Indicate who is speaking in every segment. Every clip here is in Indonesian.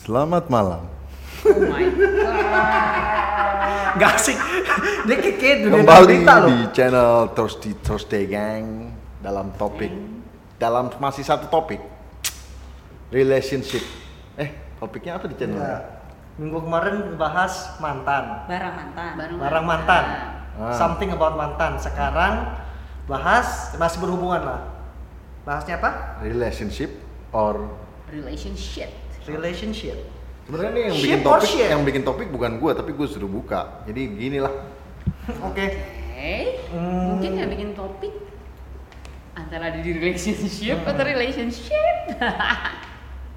Speaker 1: Selamat malam.
Speaker 2: Oh my god. Gak asik. Dia kayak kayak dunia
Speaker 1: Kembali
Speaker 2: berita loh.
Speaker 1: di channel Thursday Thursday Gang dalam topik dalam masih satu topik relationship. Eh, topiknya apa di channel?
Speaker 3: Enggak. Minggu kemarin bahas mantan,
Speaker 4: barang mantan
Speaker 2: Barang
Speaker 3: barang mantan,
Speaker 1: Ah.
Speaker 3: something about mantan. Sekarang bahas masih berhubungan lah. Bahasnya apa?
Speaker 1: Relationship or
Speaker 2: Relationship.
Speaker 3: Relationship.
Speaker 1: Sebenarnya nih yang
Speaker 3: Ship
Speaker 1: bikin
Speaker 3: or
Speaker 1: topik
Speaker 3: shit?
Speaker 1: yang bikin topik bukan gua tapi gua suruh buka. Jadi ginilah.
Speaker 3: Oke.
Speaker 2: Oke.
Speaker 3: Hmm.
Speaker 2: Mungkin yang bikin topik antara ada di relationship atau
Speaker 3: Hmm.
Speaker 2: relationship.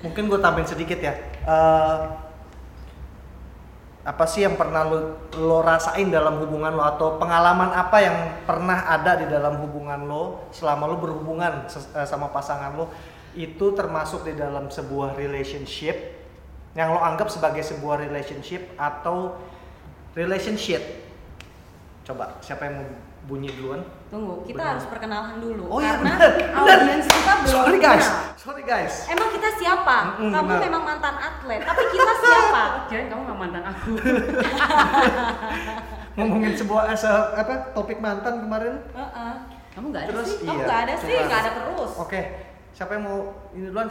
Speaker 3: Mungkin gue tambahin sedikit ya. Eh, apa sih yang pernah lo, lo rasain dalam hubungan lo atau pengalaman apa yang pernah ada di dalam hubungan lo selama lo berhubungan ses- eh, sama pasangan lo itu termasuk di dalam sebuah relationship yang lo anggap sebagai sebuah relationship atau relationship coba siapa yang mau bunyi duluan
Speaker 4: tunggu kita
Speaker 3: Benar.
Speaker 4: harus perkenalan dulu
Speaker 3: Oh iya,
Speaker 4: karena
Speaker 3: benar, benar.
Speaker 4: audiens kita belum
Speaker 3: sorry guys
Speaker 4: kenal.
Speaker 3: sorry guys
Speaker 4: emang kita siapa
Speaker 3: Mm-mm,
Speaker 4: kamu
Speaker 3: benar.
Speaker 4: memang mantan atlet tapi kita siapa
Speaker 2: Kirain kamu gak mantan aku.
Speaker 3: ngomongin sebuah eh, se- apa topik mantan kemarin
Speaker 4: Heeh.
Speaker 2: Kamu gak ada
Speaker 3: Terus,
Speaker 2: sih?
Speaker 4: Kamu
Speaker 3: Iya, Oh,
Speaker 4: nggak ada sih
Speaker 3: coba.
Speaker 4: nggak ada terus
Speaker 3: Oke, siapa yang mau ini duluan?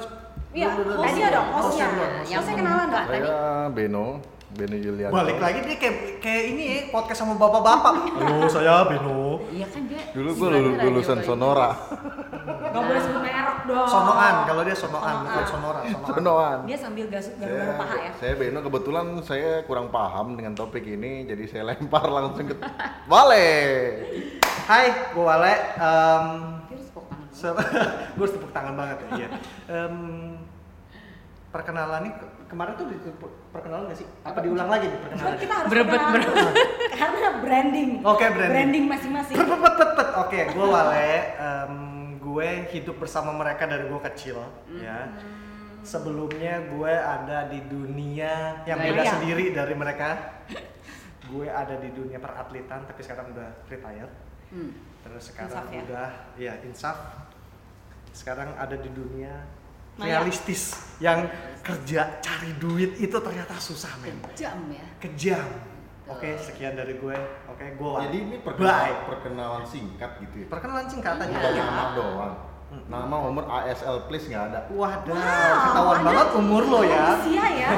Speaker 4: Iya,
Speaker 3: Dulu, dulu,
Speaker 4: hostnya
Speaker 3: dulu.
Speaker 4: dong,
Speaker 2: Oh,
Speaker 4: hostnya.
Speaker 3: duluan, hostnya
Speaker 4: Hostnya
Speaker 3: duluan.
Speaker 4: kenalan dong.
Speaker 2: Tadi.
Speaker 1: Saya Beno, Beno Yulianto.
Speaker 3: Balik lagi dia kayak kayak ini ya, podcast sama bapak-bapak. Halo, saya Beno.
Speaker 2: Iya kan dia.
Speaker 1: Dulu gua
Speaker 2: sebenarnya
Speaker 1: lulu-
Speaker 2: radio
Speaker 1: lulusan
Speaker 2: kayak
Speaker 1: Sonora.
Speaker 4: nggak boleh sebut merek dong
Speaker 3: iya. Sonoan, kalau dia sonoan, bukan
Speaker 4: Sonoan.
Speaker 3: sonora, sonoan.
Speaker 1: Sonoan.
Speaker 4: dia sambil gasuk
Speaker 1: Saya-
Speaker 3: Iya,
Speaker 4: garuk paha ya
Speaker 1: Saya Beno kebetulan saya kurang paham dengan topik ini jadi saya lempar langsung ke Vale.
Speaker 3: Hai, gue Wale. Em,
Speaker 2: gitu. Dia harus tepuk tangan.
Speaker 3: gue harus tepuk tangan banget ya. Iya. Em, perkenalan nih ke- kemarin tuh di- perkenalan gak sih? Apa diulang lagi nih
Speaker 4: Cuma
Speaker 3: perkenalan?
Speaker 4: kita harus
Speaker 2: Berebet,
Speaker 4: perkenalan dulu. karena branding
Speaker 3: Oke, branding.
Speaker 4: masing-masing
Speaker 3: Pet, pet, pet, pet, pet. Oke, gue Wale. Em, gue hidup bersama mereka dari gue kecil, ya.
Speaker 4: Hmm.
Speaker 3: Sebelumnya gue ada di dunia yang beda
Speaker 4: Gaya.
Speaker 3: sendiri dari mereka. Gue ada di dunia peratletan, tapi sekarang udah retire.
Speaker 2: Hmm.
Speaker 3: Terus sekarang
Speaker 4: Insaf ya?
Speaker 3: udah, ya insaf. Sekarang ada di dunia
Speaker 4: Maya.
Speaker 3: realistis yang kerja cari duit itu ternyata susah men
Speaker 2: Jam ya.
Speaker 3: kejam oke sekian dari gue oke gue Wale.
Speaker 1: Jadi ini
Speaker 3: Bye.
Speaker 1: perkenalan, perkenalan singkat gitu ya.
Speaker 3: Perkenalan singkatannya.
Speaker 4: Iya,
Speaker 1: Bukan nama doang.
Speaker 3: Hmm.
Speaker 1: Nama umur ASL please nggak ada.
Speaker 3: Wadah,
Speaker 4: Wow,
Speaker 3: ketahuan
Speaker 4: Anda
Speaker 3: banget umur lo ya.
Speaker 4: usia ya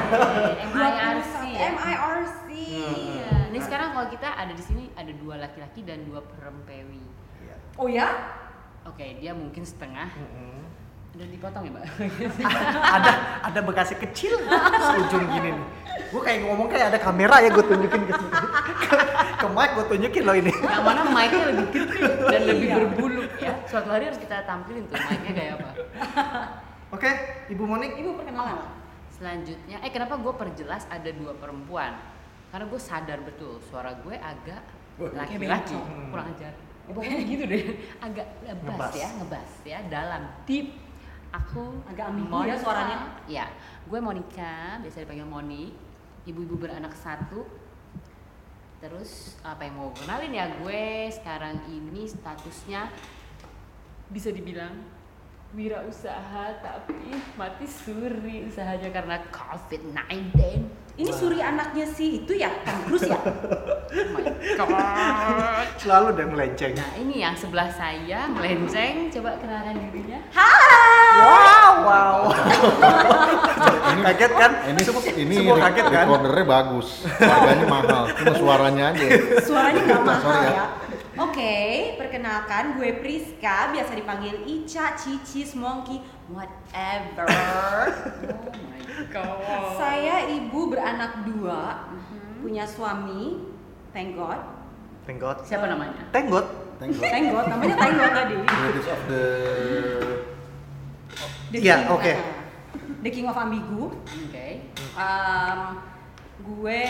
Speaker 2: MIRC ya.
Speaker 4: MIRC
Speaker 2: Iya.
Speaker 3: Hmm.
Speaker 2: Ini sekarang kalau kita ada di sini ada dua laki-laki dan dua perempewi.
Speaker 3: Iya.
Speaker 4: oh ya
Speaker 2: Oke, dia mungkin setengah
Speaker 3: Mm-mm.
Speaker 2: dan dipotong ya, Mbak.
Speaker 3: ada ada bekasnya kecil seujung gini nih. Gue kayak ngomong kayak ada kamera ya gue tunjukin ke sini. Ke, ke mic gue tunjukin lo ini.
Speaker 2: yang mana mic-nya lebih gede dan lebih
Speaker 4: Iya.
Speaker 2: berbulu ya suatu hari harus kita tampilin tuh mic-nya kayak apa
Speaker 3: Oke, Ibu Monik.
Speaker 4: ibu perkenalan
Speaker 2: selanjutnya eh kenapa gue perjelas ada dua perempuan karena gue sadar betul suara gue agak laki-laki
Speaker 4: bencong.
Speaker 2: kurang ajar Eh, pokoknya gitu deh agak ngebas
Speaker 3: Ngebas.
Speaker 2: ya ngebas ya dalam deep aku
Speaker 4: Agak ambigu ya suaranya.
Speaker 2: ya gue Monica biasa dipanggil Moni ibu-ibu beranak satu Terus apa yang mau gue kenalin ya gue sekarang ini statusnya bisa dibilang wirausaha tapi mati suri usahanya karena COVID-19.
Speaker 4: ini suri anaknya si itu ya Tom Cruise ya
Speaker 2: Oh my god.
Speaker 3: Selalu deh melenceng.
Speaker 2: Nah ini yang sebelah saya melenceng coba kenalkan dirinya.
Speaker 3: Wow, wow. kaget kan?
Speaker 1: Ini
Speaker 3: Semua-
Speaker 1: ini
Speaker 3: semua kaget kan?
Speaker 1: recordernya bagus. Harganya mahal, cuma suaranya aja.
Speaker 4: suaranya nggak mahal
Speaker 1: Sorry ya.
Speaker 4: ya Oke, perkenalkan gue Priska, biasa dipanggil Ica, Cicis, Monkey, whatever.
Speaker 2: Oh my god.
Speaker 4: Saya ibu beranak dua, punya suami, thank God.
Speaker 3: Tenggot.
Speaker 2: Siapa namanya?
Speaker 3: Tenggot.
Speaker 1: Thank you.
Speaker 4: Thank God, namanya thank God tadi.
Speaker 1: Greatest of the
Speaker 4: The
Speaker 3: Iya,
Speaker 4: King,
Speaker 3: oke.
Speaker 4: uh, The King of Ambigu.
Speaker 2: Oke.
Speaker 4: Um, gue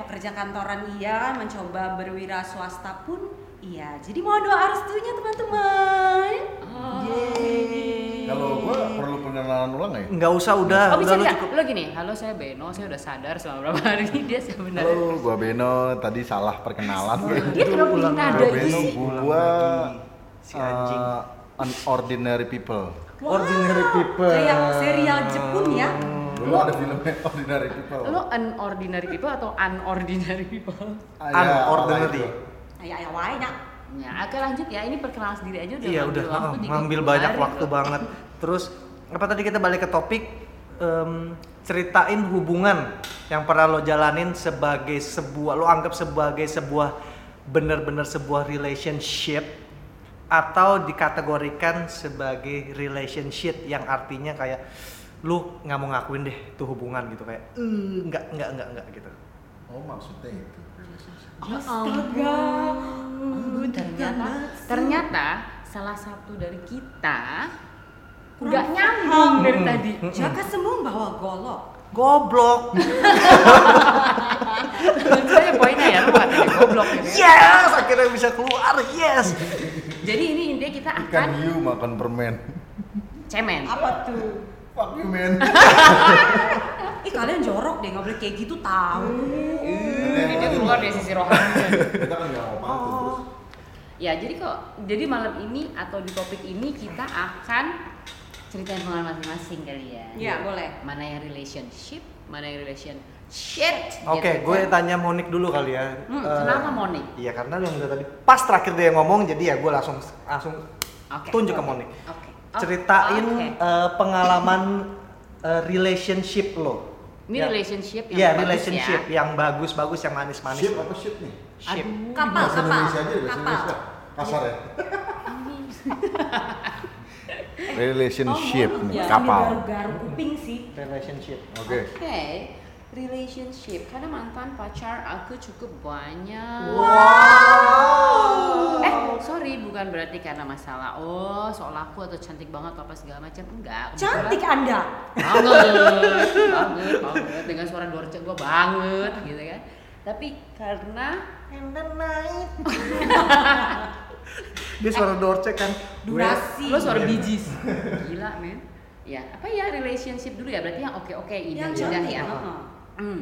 Speaker 4: pekerja kantoran iya, mencoba berwira swasta pun iya. Jadi mohon doa restunya teman-teman.
Speaker 2: Oh.
Speaker 4: Yeay.
Speaker 1: Kalau gua perlu pengenalan ulang nggak ya?
Speaker 3: Enggak usah udah, udah
Speaker 2: Oh bisa
Speaker 3: lu
Speaker 2: nggak?
Speaker 3: Ah, cukup.
Speaker 2: Lo gini, halo saya Beno, saya udah sadar selama berapa hari dia sebenarnya.
Speaker 1: Halo, gua Beno. Tadi salah perkenalan.
Speaker 3: Iya,
Speaker 2: Dia kenapa bikin
Speaker 3: Ulang
Speaker 2: nada
Speaker 1: Gua
Speaker 3: lagi.
Speaker 2: itu
Speaker 1: Beno,
Speaker 2: sih?
Speaker 1: gua
Speaker 3: eh, Si anjing.
Speaker 1: eh, unordinary people.
Speaker 4: Wow,
Speaker 3: Ordinary people.
Speaker 4: Kayak serial Jepun ya.
Speaker 1: Gua Dulu ada filmnya Ordinary People.
Speaker 3: Oh.
Speaker 2: Lo an ordinary people atau unordinary people?
Speaker 1: Ah, ya,
Speaker 3: Unordinary.
Speaker 1: apa itu?
Speaker 4: Ayo, ayo, ayo, nak.
Speaker 2: Ya, oke lanjut ya. Ini perkenalan sendiri aja udah
Speaker 3: Iya
Speaker 2: ngambil
Speaker 3: udah
Speaker 2: waktu
Speaker 3: ah,
Speaker 2: di gitu.
Speaker 3: ngambil
Speaker 2: Google
Speaker 3: banyak
Speaker 2: hari
Speaker 3: waktu
Speaker 2: loh.
Speaker 3: banget. Terus apa tadi kita balik ke topik em, ceritain hubungan yang pernah lo jalanin sebagai sebuah lo anggap sebagai sebuah bener-bener sebuah relationship atau dikategorikan sebagai relationship yang artinya kayak lu nggak mau ngakuin deh tuh hubungan gitu kayak eh nggak nggak nggak nggak gitu
Speaker 1: Oh maksudnya itu relationship.
Speaker 2: Ya
Speaker 4: Astaga.
Speaker 2: ampun. Ternyata ternyata salah satu dari kita
Speaker 4: Kurang
Speaker 2: nggak
Speaker 4: paham.
Speaker 2: nyambung dari tadi.
Speaker 4: Jaka semua bawa golok.
Speaker 3: goblok
Speaker 2: Sebenarnya poinnya ya, lu nggak tadi goblok gitu ya.
Speaker 3: yes akhirnya bisa keluar yes
Speaker 2: Jadi ini intinya kita akan
Speaker 4: Kan?
Speaker 1: Ikan hiu makan permen.
Speaker 2: cemen.
Speaker 4: Apa tuh?
Speaker 1: Fuck you man.
Speaker 4: Ih kalian jorok deh, nggak boleh kayak gitu tahu.
Speaker 2: Jadi dia keluar dari sisi rohani.
Speaker 1: Kita kan nggak mau pantun
Speaker 4: Oh.
Speaker 1: terus.
Speaker 2: Ya, jadi kok jadi malam ini atau di topik ini kita akan ceritain pengalaman masing-masing kali ya.
Speaker 4: Iya, boleh.
Speaker 2: Mana yang relationship, mana yang relation shit.
Speaker 3: Oke,
Speaker 2: gitu
Speaker 3: gue
Speaker 2: kan.
Speaker 3: tanya Monik dulu kali ya.
Speaker 2: Hmm,
Speaker 3: Eh,
Speaker 2: kenapa Monik?
Speaker 3: Iya, karena yang udah tadi pas terakhir dia ngomong, jadi ya gue langsung langsung
Speaker 2: Oke.
Speaker 3: tunjuk ke
Speaker 2: Oke.
Speaker 3: Monik.
Speaker 2: Oke.
Speaker 3: Ceritain
Speaker 2: Oke.
Speaker 3: eh, pengalaman eh, relationship lo.
Speaker 2: Ini
Speaker 3: Ya.
Speaker 2: relationship yang
Speaker 3: Iya,
Speaker 2: bagus
Speaker 3: relationship
Speaker 2: ya.
Speaker 3: yang bagus-bagus, yang manis-manis.
Speaker 1: Ship
Speaker 3: lo.
Speaker 1: apa shit nih?
Speaker 3: Ship.
Speaker 2: Aduh.
Speaker 4: Kapal,
Speaker 1: Bahasa
Speaker 4: kapal,
Speaker 1: Indonesia aja bahasa
Speaker 4: kapal.
Speaker 1: Indonesia. Kasar ya.
Speaker 4: Oh,
Speaker 1: Relationship
Speaker 4: mulut
Speaker 1: nih,
Speaker 4: ya.
Speaker 1: kapal.
Speaker 4: Ini Garu-garu kuping sih.
Speaker 3: Relationship.
Speaker 1: Oke.
Speaker 2: Oke. Relationship karena mantan pacar aku cukup banyak.
Speaker 3: Wow.
Speaker 2: Eh, sorry, bukan berarti karena masalah oh soal aku atau cantik banget atau apa segala macam enggak. kebetulan-
Speaker 4: Cantik Anda.
Speaker 2: banget banget banget dengan suara dorce gue banget gitu kan tapi karena
Speaker 3: And the night. dia
Speaker 2: Eh.
Speaker 3: suara dorce kan. Gue-
Speaker 4: Durasi.
Speaker 2: lo suara bijis gila men ya apa ya relationship dulu ya berarti yang oke oke ini
Speaker 4: Yang
Speaker 2: indah
Speaker 4: cantik.
Speaker 2: ya
Speaker 4: heeh.
Speaker 2: hmm.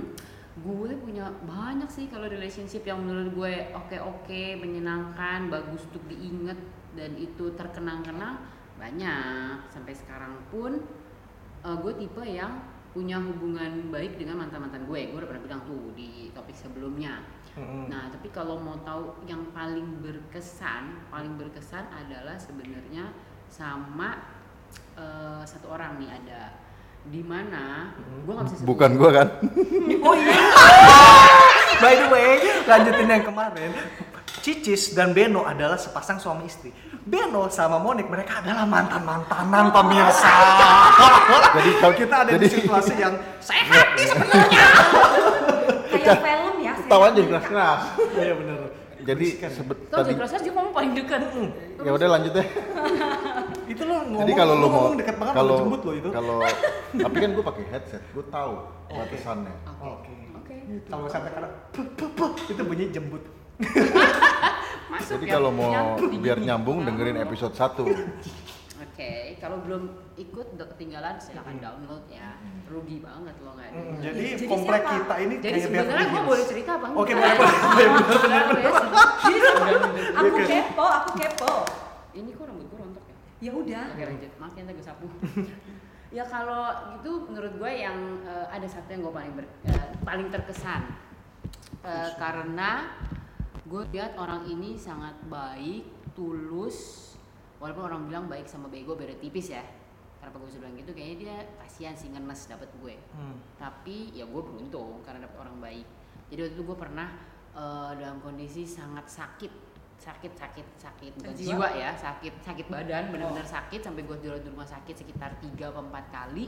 Speaker 2: gue punya banyak sih kalau relationship yang menurut gue oke oke menyenangkan bagus untuk diinget dan itu terkenang-kenang banyak sampai sekarang pun eh, gue tipe yang punya hubungan baik dengan mantan-mantan gue gue udah pernah bilang tuh di topik sebelumnya
Speaker 3: Mm-mm.
Speaker 2: Nah, tapi kalau mau tahu yang paling berkesan, paling berkesan adalah sebenarnya sama eh, satu orang nih ada di mana gua nggak bisa sebut.
Speaker 1: Bukan gua kan?
Speaker 3: Oh iya. By the way, lanjutin yang kemarin. Cicis dan Beno adalah sepasang suami istri. Beno sama Monik mereka adalah mantan-mantanan pemirsa.
Speaker 1: Jadi kalau
Speaker 3: Kita ada
Speaker 1: jadi
Speaker 3: di situasi yang
Speaker 2: sehat nih sebenarnya.
Speaker 4: Kayak film ya.
Speaker 1: ketahuan
Speaker 4: serial
Speaker 1: jadi
Speaker 4: mereka.
Speaker 1: keras-keras.
Speaker 3: Iya bener.
Speaker 1: Jadi
Speaker 3: Berisikan.
Speaker 1: sebet
Speaker 2: Tahu
Speaker 1: tadi
Speaker 2: jadi proses dia ngomong paling dekat.
Speaker 1: ya udah lanjut deh.
Speaker 3: itu lo ngomong,
Speaker 1: Jadi kalau lu mau
Speaker 3: ngomong deket banget
Speaker 1: kalau
Speaker 3: kalau jembut lo itu.
Speaker 1: kalau tapi kan gua pakai headset, gua tahu batasannya.
Speaker 2: Oke.
Speaker 3: Oke.
Speaker 2: Oke.
Speaker 3: Kalau sampai karena puh, puh, puh, itu bunyi jembut.
Speaker 2: Masuk
Speaker 1: Jadi
Speaker 2: ya,
Speaker 1: kalau mau
Speaker 2: nyambung.
Speaker 1: biar nyambung dengerin ya. episode 1.
Speaker 2: Oke, kalau belum ikut udah ketinggalan silahkan download ya. Rugi banget lo nggak
Speaker 3: Mm,
Speaker 2: ada.
Speaker 3: Jadi,
Speaker 4: Jadi
Speaker 3: komplek
Speaker 4: siapa?
Speaker 3: kita ini
Speaker 2: Jadi
Speaker 3: kayak Beverly
Speaker 2: sebenarnya gue
Speaker 3: Hills.
Speaker 2: boleh cerita apa
Speaker 3: Oke, boleh,
Speaker 2: enggak?
Speaker 3: boleh. Bener, bener,
Speaker 2: Benar,
Speaker 3: bener.
Speaker 2: ya, sebenarnya.
Speaker 4: Aku
Speaker 3: Iya, kan?
Speaker 4: kepo, aku kepo.
Speaker 2: Ini kok rambut gue rontok ya?
Speaker 4: Ya udah.
Speaker 2: Oke lanjut, maaf ya ntar gue sapu Ya kalau gitu menurut gue yang eh, ada satu yang gue paling ber- eh, paling terkesan Eh, Karena gue lihat orang ini sangat baik, tulus Walaupun orang bilang baik sama bego beda tipis ya Kenapa gue bisa bilang gitu, kayaknya dia kasihan sih ngenes dapet gue
Speaker 3: Hmm.
Speaker 2: tapi ya gue beruntung karena dapet orang baik jadi waktu itu gue pernah eh, dalam kondisi sangat sakit sakit sakit sakit bukan
Speaker 4: Jiwa?
Speaker 2: jiwa, ya sakit sakit badan benar-benar sakit sampai gue dirawat di rumah sakit sekitar 3 atau 4 kali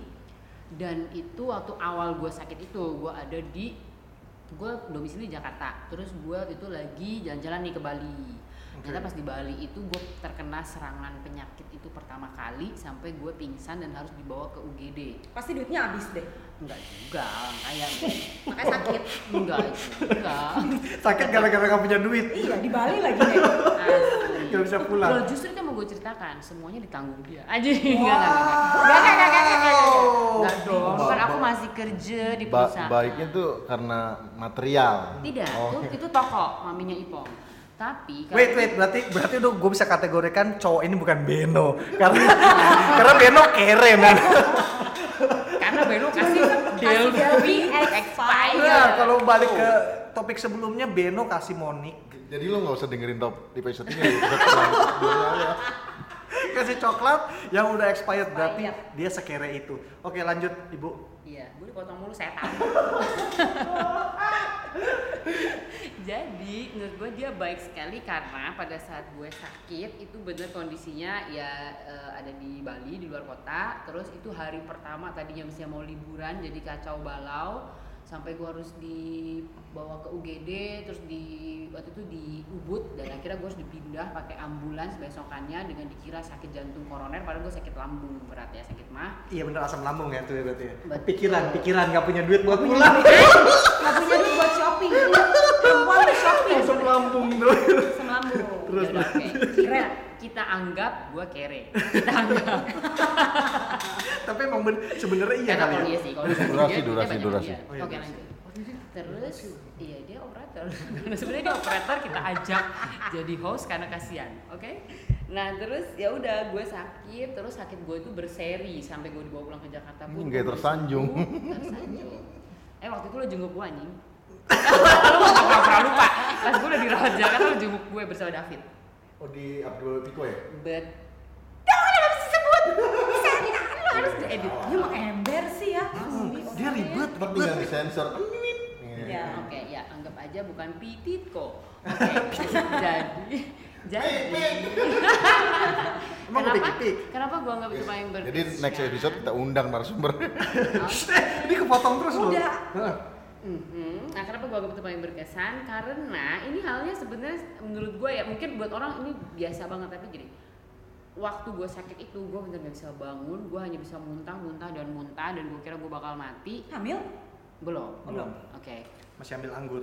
Speaker 2: dan itu waktu awal gue sakit itu gue ada di gue domisili di Jakarta terus gue waktu itu lagi jalan-jalan nih ke Bali ternyata pas di Bali itu gue terkena serangan penyakit itu pertama kali sampai gue pingsan dan harus dibawa ke UGD
Speaker 4: Pasti duitnya habis deh.
Speaker 2: Enggak juga, kayak
Speaker 4: Makanya sakit.
Speaker 2: enggak juga.
Speaker 3: Sakit gara-gara gak punya duit.
Speaker 4: Iya, di Bali lagi deh.
Speaker 2: Asli.
Speaker 3: Gak bisa pulang.
Speaker 2: Loh, justru itu yang mau gue ceritakan, semuanya ditanggung dia. Aja enggak enggak enggak. Enggak enggak enggak enggak, enggak. Enggak dong, kan aku masih kerja di
Speaker 1: Ba-
Speaker 2: perusahaan.
Speaker 1: baiknya tuh karena material.
Speaker 2: Tidak,
Speaker 1: Oh,
Speaker 2: itu, itu toko maminya Ipong. Tapi
Speaker 3: Wait wait berarti berarti udah gue bisa kategorikan cowok ini bukan Beno karena karena Beno kere man.
Speaker 2: karena Beno kasih expired.
Speaker 3: Nah, kalau balik ke topik sebelumnya Beno kasih Monik
Speaker 1: Jadi lo nggak usah dengerin top episode ini. episode selanjutnya.
Speaker 3: kasih coklat yang udah expired berarti
Speaker 4: Expired.
Speaker 3: dia sekere itu. Oke, lanjut Ibu.
Speaker 2: Iya, gue dipotong mulu setan. Jadi menurut gue dia baik sekali karena pada saat gue sakit itu bener kondisinya ya eh, ada di Bali di luar kota. Terus itu hari pertama tadinya misalnya mau liburan jadi kacau balau sampai gue harus dibawa ke UGD terus di waktu itu di Ubud dan akhirnya gue harus dipindah pakai ambulans besokannya dengan dikira sakit jantung koroner padahal gue sakit lambung berat ya sakit mah
Speaker 3: Iya bener asam lambung ya itu ya berarti ya.
Speaker 2: Betul.
Speaker 3: Pikiran, pikiran nggak punya duit buat pulang.
Speaker 4: Gak punya duit buat shopping. Perempuan tuh shopping.
Speaker 3: Asam lambung tuh.
Speaker 4: Semambu.
Speaker 3: Terus,
Speaker 2: Yaudah, oke. Kira kita anggap gua kere. Kita anggap.
Speaker 3: Tapi emang ben- sebenarnya iya
Speaker 2: Karena
Speaker 3: kali ya.
Speaker 2: kalau iya sih, kalau dia
Speaker 1: Durasi,
Speaker 2: dia- dia
Speaker 1: durasi,
Speaker 2: banyak
Speaker 1: durasi.
Speaker 2: dia.
Speaker 3: Oh, iya,
Speaker 2: Oke,
Speaker 3: durasi.
Speaker 2: lanjut. Terus iya dia operator. Sebenarnya dia operator kita ajak jadi host karena kasihan, oke? Nah terus ya udah gue sakit, terus sakit gue itu berseri sampai gue dibawa pulang ke Jakarta
Speaker 1: Hmm,
Speaker 2: pun.
Speaker 1: kayak tersanjung.
Speaker 2: Tersanjung. Eh waktu itu lo jenguk gue anjing. lo nggak pernah lupa. Pas gue udah dirawat Jakarta lo jenguk gue bersama David.
Speaker 1: Oh di Abdul Piko ya?
Speaker 2: But Dah udah gak bisa sebut Setan lu harus diedit Iya,
Speaker 4: Dia mau ember sih ya.
Speaker 3: Ah, Dia ribet
Speaker 1: Tetap
Speaker 3: banget.
Speaker 1: tinggal di sensor.
Speaker 4: Iya.
Speaker 1: Nah,
Speaker 2: Oke ya anggap aja bukan pititko Oke jadi Jadi
Speaker 3: Emang gue
Speaker 2: Kenapa?
Speaker 3: pikir-pikir.
Speaker 2: Kenapa gua anggap cuma yang ber
Speaker 1: Jadi next episode kita undang narasumber.
Speaker 3: Ini kepotong terus loh.
Speaker 4: Udah.
Speaker 3: Heeh.
Speaker 2: Mhm. Nah, kenapa gue anggap itu paling berkesan? Karena ini halnya sebenarnya menurut gue ya mungkin buat orang ini biasa banget tapi gini. Waktu gue sakit itu gue bener gak bisa bangun, gue hanya bisa muntah, muntah dan muntah dan gue kira gue bakal mati.
Speaker 4: Hamil?
Speaker 2: Belum.
Speaker 3: Belum.
Speaker 2: Oke.
Speaker 3: Masih ambil anggur.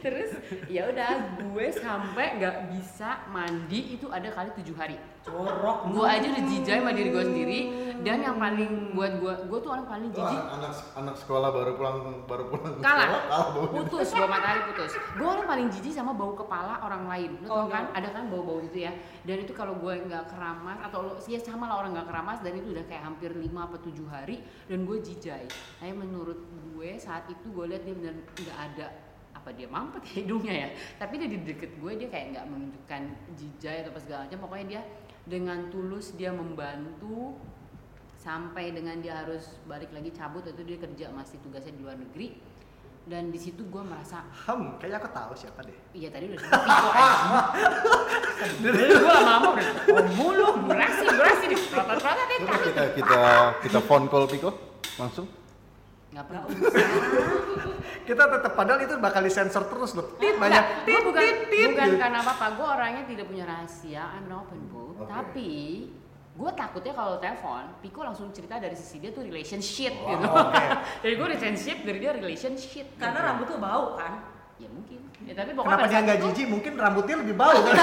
Speaker 2: Terus ya udah gue sampai nggak bisa mandi itu ada kali tujuh hari.
Speaker 3: Corok.
Speaker 2: Gue aja udah jijai sama diri gue sendiri dan yang paling buat gue gue tuh orang paling
Speaker 1: Wah,
Speaker 2: jijik
Speaker 1: anak anak sekolah baru pulang baru pulang sekolah
Speaker 2: kalah
Speaker 1: kalah baunya.
Speaker 2: putus bau matahari putus gue orang paling jijik sama bau kepala orang lain lo tau
Speaker 4: Oh,
Speaker 2: kan
Speaker 4: no.
Speaker 2: ada kan bau bau itu ya dan itu kalau gue nggak keramas atau lo ya sama lah orang nggak keramas dan itu udah kayak hampir 5 apa 7 hari dan gue jijai tapi menurut gue saat itu gue lihat dia benar nggak ada apa dia mampet ya hidungnya ya tapi dia di deket gue dia kayak nggak menunjukkan jijai atau apa segala macam pokoknya dia dengan tulus dia membantu sampai dengan dia harus balik lagi cabut itu dia kerja masih tugasnya di luar negeri dan di situ gue merasa
Speaker 3: Hem, kayaknya aku tahu siapa deh.
Speaker 2: iya tadi udah sebut kok anjing." Sebel gue sama mama udah oh, mulu berasi berasi di kan rata-rata deh
Speaker 1: Coba
Speaker 2: kaki
Speaker 1: kita kita kita phone call Piko langsung.
Speaker 2: nggak
Speaker 4: Gak
Speaker 2: perlu
Speaker 4: usah.
Speaker 3: Kita tetap padahal itu bakal disensor terus loh. Tit banyak.
Speaker 2: Enggak,
Speaker 3: Tit,
Speaker 2: gua bukan
Speaker 3: tit, tit,
Speaker 2: bukan
Speaker 3: gitu.
Speaker 2: karena apa-apa gue orangnya tidak punya rahasia I'm an open book
Speaker 1: Oke.
Speaker 2: tapi gue takutnya kalau telepon Piko langsung cerita dari sisi dia tuh relationship
Speaker 1: Wow,
Speaker 2: gitu
Speaker 3: Oh, oke.
Speaker 2: dari gue relationship dari dia relationship
Speaker 4: Karena rambut tuh bau kan.
Speaker 2: ya mungkin ya tapi pokoknya
Speaker 3: Kenapa
Speaker 2: pada
Speaker 3: dia
Speaker 2: saat
Speaker 3: nggak
Speaker 2: itu-
Speaker 3: jijik? Mungkin rambutnya lebih bau kan?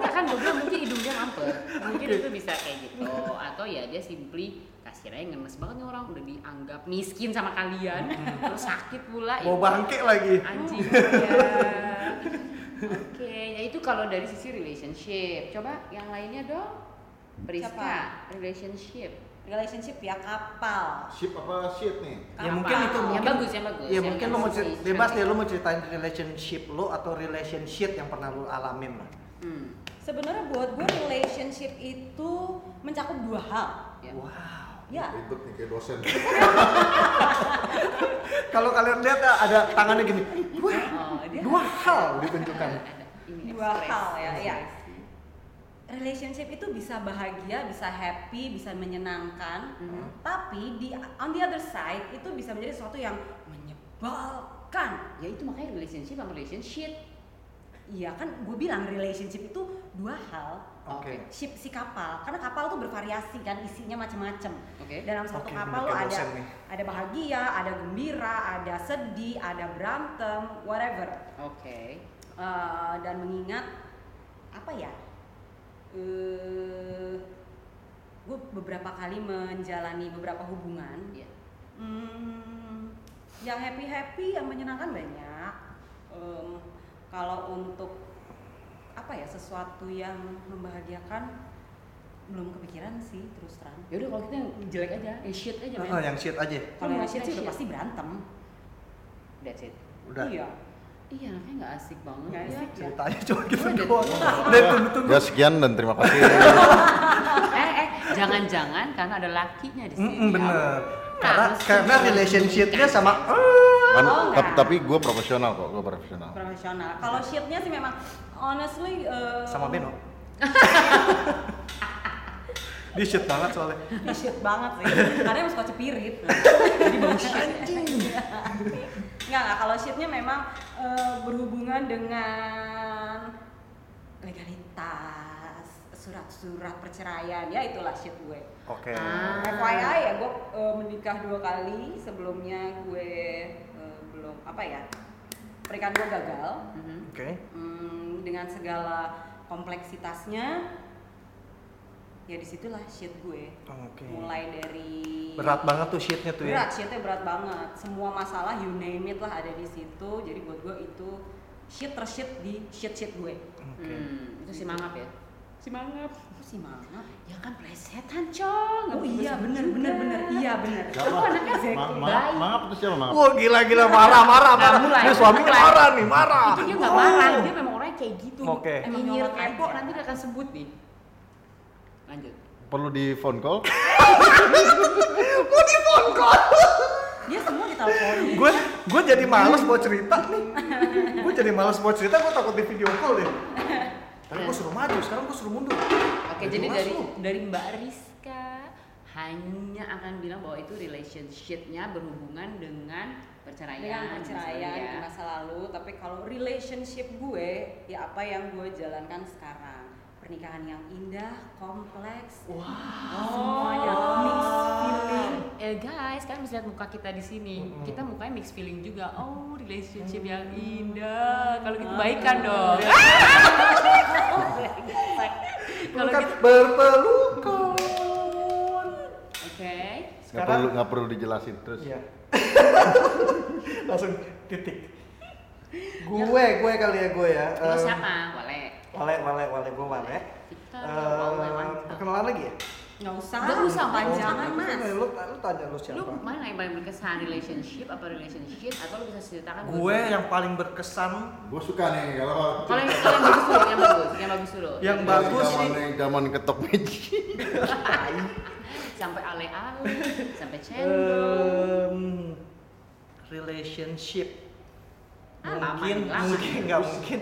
Speaker 2: Nggak kan gue bilang mungkin hidungnya mampet mungkin itu bisa kayak gitu atau ya dia simply kasirnya ngenes banget nih orang udah dianggap miskin sama kalian
Speaker 3: Hmm.
Speaker 2: terus sakit pula
Speaker 3: Mau
Speaker 2: ya.
Speaker 3: bangke lagi.
Speaker 2: anjing
Speaker 3: Iya.
Speaker 2: ya. oke ya itu kalau dari sisi relationship coba yang lainnya dong Priska
Speaker 4: Siapa?
Speaker 2: relationship
Speaker 4: Relationship ya kapal.
Speaker 1: Ship apa shit nih?
Speaker 3: Ya
Speaker 2: Apa?
Speaker 3: mungkin itu
Speaker 2: yang
Speaker 3: mungkin.
Speaker 2: bagus yang bagus
Speaker 3: Ya mungkin lo mau
Speaker 2: yang
Speaker 3: cer-
Speaker 2: sisi-
Speaker 3: bebas deh lo mau ceritain relationship lo atau relationship yang pernah lo alamin lah.
Speaker 2: hmm.
Speaker 4: Sebenarnya buat gue relationship itu mencakup dua hal.
Speaker 2: ya.
Speaker 3: Wow.
Speaker 4: Ya,
Speaker 1: Ribet nih kayak dosen.
Speaker 3: Kalau kalian lihat ya, ada tangannya gini. Wah,
Speaker 2: Oh, dia-
Speaker 3: dua hal ditunjukkan.
Speaker 2: ada ini
Speaker 4: dua
Speaker 2: express.
Speaker 4: hal ya, ya.
Speaker 3: iya.
Speaker 2: Ekspresi.
Speaker 4: relationship itu bisa bahagia, bisa happy, bisa menyenangkan.
Speaker 2: Mhm.
Speaker 4: Tapi di on the other side itu bisa menjadi sesuatu yang menyebalkan.
Speaker 2: ya itu makanya relationship sama relationship
Speaker 4: Iya kan, gue bilang relationship itu dua hal.
Speaker 3: Oke.
Speaker 4: Ship si kapal, karena kapal tuh bervariasi kan isinya macam-macam.
Speaker 2: Oke.
Speaker 4: Dalam satu
Speaker 3: Eh, Oke,
Speaker 4: kapal
Speaker 3: bener
Speaker 4: lo
Speaker 3: kayak
Speaker 4: ada
Speaker 3: dosen nih.
Speaker 4: ada bahagia, ada gembira, ada sedih, ada berantem, whatever.
Speaker 2: oke
Speaker 4: Eh, dan mengingat apa ya eh gue beberapa kali menjalani beberapa hubungan
Speaker 2: ya
Speaker 4: Hmm, yang happy happy yang menyenangkan banyak Em, kalau untuk apa ya sesuatu yang membahagiakan belum kepikiran sih terus terang.
Speaker 2: Yaudah Ya kalau kita yang jelek aja, yang shit aja men.
Speaker 3: Heeh, Oh, yang shit aja.
Speaker 4: Kalau yang
Speaker 2: Iya,
Speaker 4: shit sih udah
Speaker 2: shit.
Speaker 4: pasti berantem.
Speaker 2: That's it.
Speaker 3: Udah.
Speaker 4: Iya.
Speaker 2: Iya, anaknya nggak asik banget.
Speaker 4: Nggak
Speaker 2: ya.
Speaker 4: asik ya.
Speaker 3: Ceritanya cuma gitu
Speaker 2: Udah.
Speaker 3: doang. Udah tunggu-tunggu.
Speaker 1: Ya sekian dan terima kasih.
Speaker 2: Oh, eh, eh, jangan-jangan karena ada lakinya di sini.
Speaker 3: Mm-mm, bener.
Speaker 2: Hmm,
Speaker 3: Karena
Speaker 2: harus
Speaker 3: karena
Speaker 2: sih.
Speaker 3: relationshipnya sama
Speaker 1: Kan, tapi,
Speaker 4: Oh, enggak.
Speaker 1: tapi gue profesional kok, gue
Speaker 3: Oh.
Speaker 1: profesional.
Speaker 4: Profesional. Kalau shitnya sih memang honestly eh,
Speaker 3: sama Beno. Dia shit banget soalnya.
Speaker 4: Ini shit banget sih karena emang suka cepirit jadi bau shit nggak nggak kalau shitnya memang eh, berhubungan dengan legalitas surat-surat perceraian ya itulah shit gue
Speaker 3: Oke.
Speaker 2: Ah.
Speaker 4: FYI ya gue eh, menikah dua kali sebelumnya gue eh, belum apa ya pernikahan gue gagal
Speaker 2: Mhm.
Speaker 3: Oke.
Speaker 4: Hmm, dengan segala kompleksitasnya ya disitulah shit gue
Speaker 3: Oke.
Speaker 4: mulai dari
Speaker 3: Berat banget tuh shitnya tuh ya.
Speaker 4: berat shitnya berat banget semua masalah you name it lah ada di situ jadi buat gue itu shit tershit di shit shit gue
Speaker 3: Oke.
Speaker 2: Hmm, itu si mangap ya? Si mangap.
Speaker 4: Apa sih mangap
Speaker 2: Ya kan plesetan, Cong. Nggak
Speaker 4: oh iya
Speaker 2: bisa
Speaker 4: bener
Speaker 2: juga.
Speaker 4: bener bener iya bener
Speaker 2: Kamu kan anaknya
Speaker 1: Ma-
Speaker 2: baik.
Speaker 1: ma- Mangap itu siapa mangap?
Speaker 3: Wah gila gila marah marah
Speaker 2: Hmm. Nah,
Speaker 3: marah.
Speaker 2: mulai,
Speaker 3: Ini suaminya
Speaker 2: mulai.
Speaker 3: marah nih marah.
Speaker 2: Itu dia nggak
Speaker 3: Wow.
Speaker 2: marah, dia memang orangnya kayak gitu.
Speaker 3: Oke.
Speaker 2: Emang
Speaker 4: Emang
Speaker 2: nyinyir
Speaker 4: nyolot
Speaker 2: kepo
Speaker 4: aja.
Speaker 2: nanti dia akan sebut nih. Lanjut.
Speaker 1: Perlu di phone call?
Speaker 3: Gue di phone call.
Speaker 4: dia semua
Speaker 2: Iya,
Speaker 4: diteleponin
Speaker 3: Gue gue jadi males mau cerita nih. Gue jadi males mau cerita. Gue takut di video call deh. Tadi gue suruh maju, sekarang gue suruh mundur.
Speaker 2: Iya. Oke,
Speaker 3: Udah
Speaker 2: jadi
Speaker 3: jelas
Speaker 2: dari
Speaker 3: lu.
Speaker 2: dari Mbak Rizka hanya akan bilang bahwa itu relationship-nya berhubungan dengan perceraian.
Speaker 4: dengan
Speaker 2: misalnya
Speaker 4: perceraian
Speaker 2: ya.
Speaker 4: di masa lalu tapi kalau relationship gue ya apa yang gue jalankan sekarang pernikahan yang indah kompleks
Speaker 2: Wow.
Speaker 4: Semuanya mix
Speaker 3: Oh.
Speaker 4: feeling.
Speaker 2: Eh guys, kalian bisa lihat muka kita di sini.
Speaker 3: Mm-mm.
Speaker 2: Kita mukanya mix feeling juga. Oh, relationship yang indah. Kalau gitu baikan dong.
Speaker 3: Iya.
Speaker 2: Kalau
Speaker 3: Kan
Speaker 2: gitu
Speaker 3: berpelukan.
Speaker 2: Oke.
Speaker 3: Eh.
Speaker 1: Nggak
Speaker 3: Sekarang-
Speaker 1: perlu nggak perlu dijelasin terus.
Speaker 3: Iya. Langsung titik. Gue, gue kali ya gue ya.
Speaker 2: Lo
Speaker 3: Em,
Speaker 2: siapa? Wale.
Speaker 3: Wale, wale, wale, gue wale.
Speaker 2: Kita Wale
Speaker 3: Eh, perkenalan lagi ya?
Speaker 4: nggak usah
Speaker 2: Nggak usah,
Speaker 4: panjangan
Speaker 3: Oh,
Speaker 4: mas
Speaker 3: Lu, lu tanya lu siapa?
Speaker 2: Lu mana yang paling berkesan relationship apa relationship atau lu bisa ceritakan
Speaker 3: gue
Speaker 2: dua-duanya?
Speaker 3: yang paling berkesan
Speaker 1: Gue suka nih kalau
Speaker 2: kalau yang, kalau yang bagus dulu, yang bagus, yang bagus dulu.
Speaker 3: Yang bagus
Speaker 1: zaman,
Speaker 3: sih.
Speaker 1: zaman ketok meja.
Speaker 2: sampai ale-ale, sampai cendol.
Speaker 3: em, relationship
Speaker 2: Ah, lama
Speaker 3: mungkin
Speaker 2: nih, lama.
Speaker 3: mungkin nggak mungkin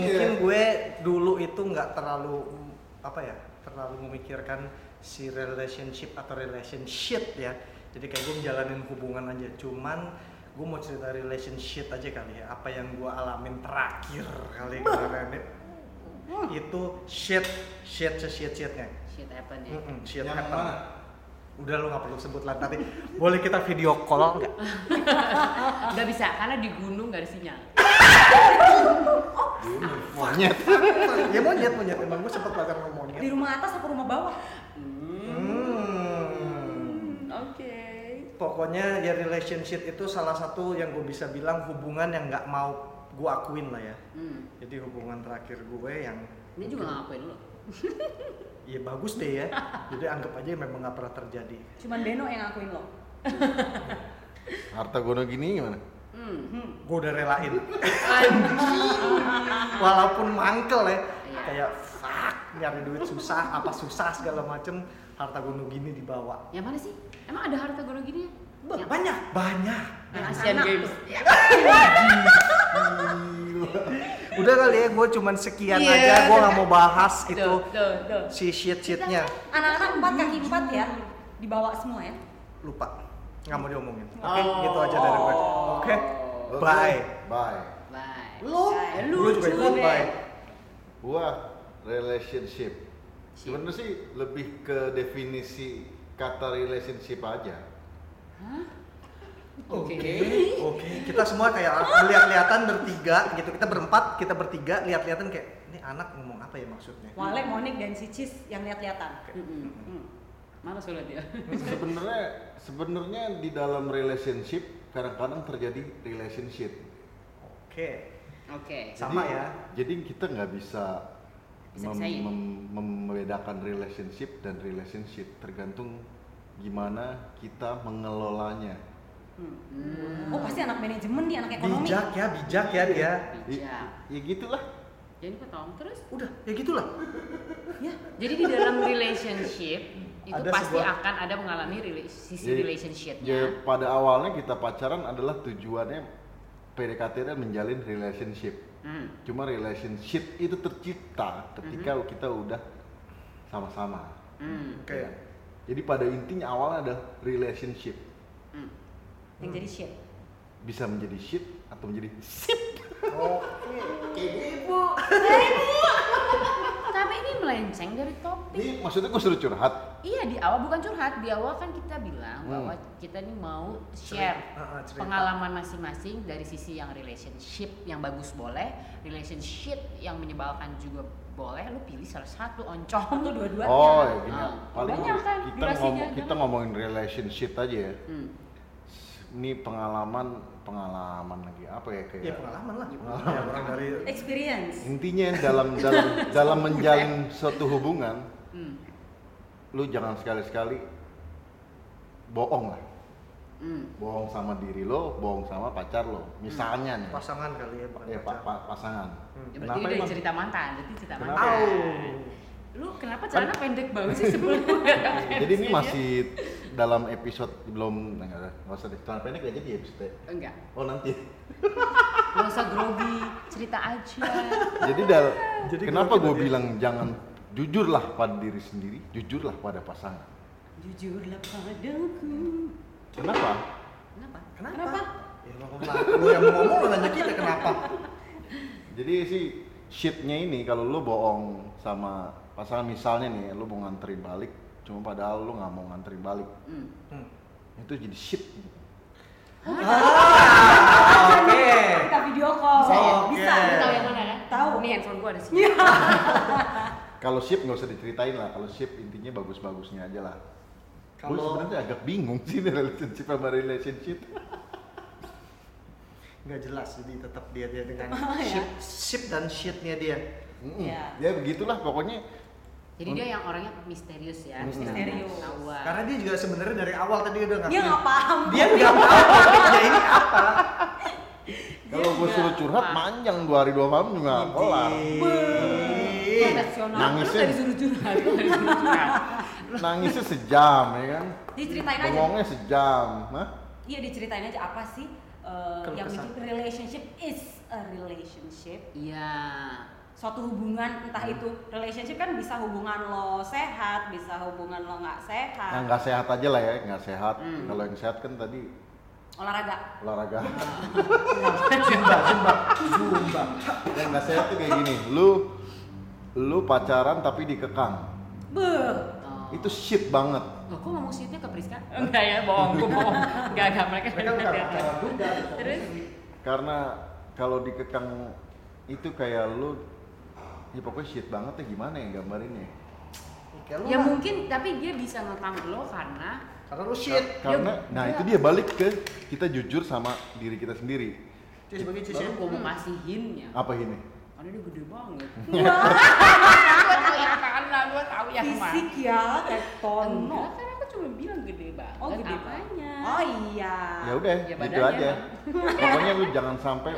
Speaker 3: mungkin gue dulu itu nggak terlalu mm, apa ya terlalu memikirkan si relationship atau relationship ya jadi kayak gue menjalanin hubungan aja cuman gue mau cerita relationship aja kali ya apa yang gue alamin terakhir kali kemarin ya. itu shit shit shit shitnya
Speaker 2: Shit happen ya.
Speaker 3: Mm-mm, shit
Speaker 1: Yang
Speaker 3: happen.
Speaker 1: mana?
Speaker 3: Udah lu nggak perlu sebut lah nanti. Boleh kita video call nggak?
Speaker 2: Gak bisa, karena di gunung gak ada sinyal.
Speaker 1: Monyet.
Speaker 3: ya monyet monyet emang gue sempet pacar sama monyet.
Speaker 4: di rumah atas apa rumah bawah
Speaker 3: Hmm.
Speaker 2: Oke.
Speaker 3: Pokoknya ya relationship itu salah satu yang gue bisa bilang hubungan yang nggak mau gue akuin lah ya.
Speaker 2: Hmm.
Speaker 3: Jadi hubungan terakhir gue yang
Speaker 2: Ini juga gak ngapain lu.
Speaker 3: ya bagus deh ya. Jadi anggap aja memang nggak pernah terjadi.
Speaker 4: cuman Beno yang ngakuin lo
Speaker 1: Harta gono gini gimana?
Speaker 2: Hmm.
Speaker 3: Gue udah relain.
Speaker 2: Anjing.
Speaker 3: Walaupun mangkel ya.
Speaker 2: Iya.
Speaker 3: Kayak fuck nyari duit susah apa susah segala macem harta gono gini dibawa
Speaker 2: Yang mana sih? Emang ada harta gono gini ya?
Speaker 3: Ba-
Speaker 2: Yang-
Speaker 3: banyak banyak
Speaker 2: yang Asian
Speaker 4: Anak
Speaker 2: Games.
Speaker 3: udah kali ya gue cuman sekian
Speaker 2: Iya.
Speaker 3: aja gue nggak mau bahas itu
Speaker 2: Tuh, tuh, tuh.
Speaker 3: si shit shitnya
Speaker 4: anak-anak empat kaki empat ya dibawa semua ya
Speaker 3: lupa nggak mau diomongin oke
Speaker 2: Oh.
Speaker 3: gitu aja dari gue oke
Speaker 1: Oke,
Speaker 3: bye
Speaker 1: Bye.
Speaker 2: Bye.
Speaker 3: Lu?
Speaker 2: Bye.
Speaker 3: Lu juga ikut,
Speaker 2: deh.
Speaker 3: bye.
Speaker 1: Gua relationship. Sebenarnya sih lebih ke definisi kata relationship aja.
Speaker 2: Hah?
Speaker 3: Oke,
Speaker 2: Oke.
Speaker 3: oke. Kita semua kayak lihat-lihatan bertiga gitu. Kita berempat, kita bertiga lihat-lihatan kayak ini anak ngomong apa ya maksudnya?
Speaker 4: Wale, Monik, dan Cicis yang lihat-lihatan
Speaker 2: Mm-mm. Mana soalnya dia?
Speaker 1: Sebenarnya sebenarnya di dalam relationship kadang-kadang terjadi relationship.
Speaker 3: Oke,
Speaker 2: Oke.
Speaker 3: sama
Speaker 1: Jadi-
Speaker 3: ya.
Speaker 1: Jadi kita nggak bisa
Speaker 2: Bisa-bisain.
Speaker 1: mem- mem- membedakan relationship dan relationship tergantung gimana kita mengelolanya.
Speaker 3: Hmm.
Speaker 4: Oh pasti anak manajemen nih, anak ekonomi.
Speaker 3: Bijak ya, bijak ya dia.
Speaker 1: I-
Speaker 2: bijak
Speaker 1: Ya gitulah.
Speaker 2: jadi potong terus
Speaker 3: Udah, ya gitulah.
Speaker 4: Ya.
Speaker 2: jadi di dalam relationship itu
Speaker 3: Ada
Speaker 2: pasti
Speaker 3: sebuah-
Speaker 2: akan ada mengalami rela- sisi
Speaker 1: Ya-
Speaker 2: relationshipnya
Speaker 1: ya pada awalnya kita pacaran adalah tujuannya PDKT-nya menjalin relationship.
Speaker 2: Hmm.
Speaker 1: Cuma relationship itu tercipta ketika
Speaker 2: Mm-hmm.
Speaker 1: kita udah sama-sama.
Speaker 2: Hmm.
Speaker 3: Oke.
Speaker 1: Ya. Jadi pada intinya awalnya ada relationship
Speaker 2: Hmm.
Speaker 4: Yang jadi shit.
Speaker 1: bisa menjadi shit atau menjadi
Speaker 3: Oh,
Speaker 2: Oh, tapi ini melenceng dari topik
Speaker 1: ini maksudnya gue suruh curhat
Speaker 2: iya di awal bukan curhat di awal kan kita bilang
Speaker 1: Hmm.
Speaker 2: bahwa kita nih mau share
Speaker 3: Cerita. Ah, ah, cerita.
Speaker 2: pengalaman masing-masing dari sisi yang relationship yang bagus boleh relationship yang menyebalkan juga boleh lu pilih salah satu oncom
Speaker 4: Tuh dua-duanya.
Speaker 1: oh ya gini
Speaker 2: Ah.
Speaker 1: paling
Speaker 2: Banyak kan
Speaker 1: kita
Speaker 2: durasinya,
Speaker 1: ngomong kita
Speaker 2: jangan.
Speaker 1: ngomongin relationship aja ya
Speaker 2: Hmm.
Speaker 1: ini pengalaman pengalaman lagi apa ya kayak
Speaker 3: ya pengalaman lah. Ya, orang dari
Speaker 4: Experience.
Speaker 1: intinya dalam dalam dalam menjalin suatu hubungan
Speaker 2: Hmm.
Speaker 1: lu jangan sekali-sekali bohong lah
Speaker 2: Hmm.
Speaker 1: bohong sama diri lo bohong sama pacar lo misalnya nih
Speaker 3: pasangan kali ya, bukan
Speaker 1: ya pa-
Speaker 3: pacar.
Speaker 1: pa- pasangan
Speaker 3: Hmm.
Speaker 2: Ya, berarti ini dari
Speaker 1: emang?
Speaker 2: cerita mantan, berarti cerita
Speaker 1: Kenapa?
Speaker 2: mantan.
Speaker 3: Au.
Speaker 2: Lu kenapa celana pendek banget sih sebelum
Speaker 3: Eh,
Speaker 2: gue?
Speaker 1: Iya, jadi ini masih dalam episode belum nggak ada nggak usah deh celana pendek aja di episode
Speaker 2: Enggak,
Speaker 1: oh nanti
Speaker 2: gak usah grogi, cerita aja
Speaker 1: jadi dal
Speaker 3: Jadi
Speaker 1: kenapa
Speaker 3: kalau kita
Speaker 1: gue
Speaker 3: dia-
Speaker 1: bilang jangan jujurlah pada diri sendiri jujurlah pada pasangan
Speaker 4: Jujurlah padaku.
Speaker 1: kenapa
Speaker 2: Kenapa?
Speaker 3: Kenapa?
Speaker 4: Kenapa?
Speaker 3: Ya emang kamu salah. Lu yang mau ngomong lu nanya kita kenapa?
Speaker 1: jadi si shitnya ini kalau lu bohong sama pasangan misalnya nih lu mau nganterin balik cuma padahal lu nggak mau nganterin balik
Speaker 2: Hmm.
Speaker 3: Hmm.
Speaker 1: itu jadi gitu. shit
Speaker 3: Oke.
Speaker 4: Kita video call.
Speaker 3: Bisa ya?
Speaker 4: Bisa.
Speaker 3: Oke.
Speaker 2: Lu tahu yang mana kan?
Speaker 4: Tahu.
Speaker 2: Ini handphone gue ada sini
Speaker 1: kalau shit nggak usah diceritain lah kalau shit intinya bagus-bagusnya aja lah Gue
Speaker 3: Kalau
Speaker 1: sebenarnya agak bingung sih ini relationship sama relationship
Speaker 3: nggak jelas jadi tetap dia dia dengan
Speaker 4: Oh, ya.
Speaker 3: ship, ship dan shitnya dia.
Speaker 1: Mm-mm.
Speaker 4: Iya.
Speaker 1: Ya begitulah pokoknya
Speaker 2: Jadi dia yang orangnya misterius ya
Speaker 1: Hmm.
Speaker 4: Misterius.
Speaker 2: Tawa.
Speaker 3: Karena dia juga sebenarnya dari awal tadi udah nggak
Speaker 4: Dia nggak paham.
Speaker 3: dia nggak tahu dia ini apa.
Speaker 1: kalau gue suruh curhat panjang dua hari dua malam juga nggak kelar.
Speaker 3: Ih.
Speaker 4: Nasional.
Speaker 1: Nangisnya.
Speaker 4: Lu nggak disuruh curhat. lu nggak disuruh curhat.
Speaker 1: Nangisnya sejam ya kan.
Speaker 4: Diceritain aja.
Speaker 1: Ngomongnya sejam, Hah?
Speaker 4: Iya diceritain aja apa sih eh,
Speaker 3: Keluh
Speaker 4: yang
Speaker 3: kesah.
Speaker 4: bikin relationship is a relationship.
Speaker 2: Iya
Speaker 4: suatu hubungan entah itu relationship kan bisa hubungan lo sehat bisa hubungan lo nggak sehat
Speaker 1: Yang nggak sehat aja lah ya, nggak sehat.
Speaker 2: Hmm.
Speaker 1: Kalau yang sehat kan tadi
Speaker 4: olahraga
Speaker 1: olahraga.
Speaker 3: Zumba, zumba, zumba.
Speaker 1: yang nggak sehat Eh, tuh kayak gini, lu lu pacaran tapi dikekang.
Speaker 4: beuh
Speaker 2: Oh.
Speaker 1: Itu shit banget.
Speaker 2: Loh, kok ngomong shitnya ke Priska? Enggak ya, bohong, gue bohong Enggak, enggak, mereka
Speaker 3: Mereka bukan pacaran juga.
Speaker 2: Terus?
Speaker 1: Karena kalau dikekang itu kayak lu ya pokoknya shit banget ya gimana ya gambarinnya?
Speaker 3: Kayak lu
Speaker 2: Ya
Speaker 3: lah.
Speaker 2: mungkin, tapi dia bisa ngekang lo karena
Speaker 3: Karena lu shit.
Speaker 1: Karena
Speaker 2: Ya,
Speaker 1: nah
Speaker 2: ya.
Speaker 1: itu dia balik ke kita jujur sama diri kita sendiri.
Speaker 3: Cis bagi cis ya.
Speaker 2: baru gue mau kasihinnya
Speaker 1: Apa ini?
Speaker 2: karena dia gede banget
Speaker 4: Wah,
Speaker 2: gue tahu yang mana gue tahu yang mana
Speaker 4: fisik ya kayak
Speaker 2: enggak
Speaker 4: tono
Speaker 2: kan aku cuma bilang gede banget
Speaker 4: oh gede
Speaker 2: apanya
Speaker 4: banget oh iya
Speaker 1: ya udah
Speaker 2: Ya
Speaker 1: gitu
Speaker 2: badannya,
Speaker 1: aja pokoknya lu jangan sampai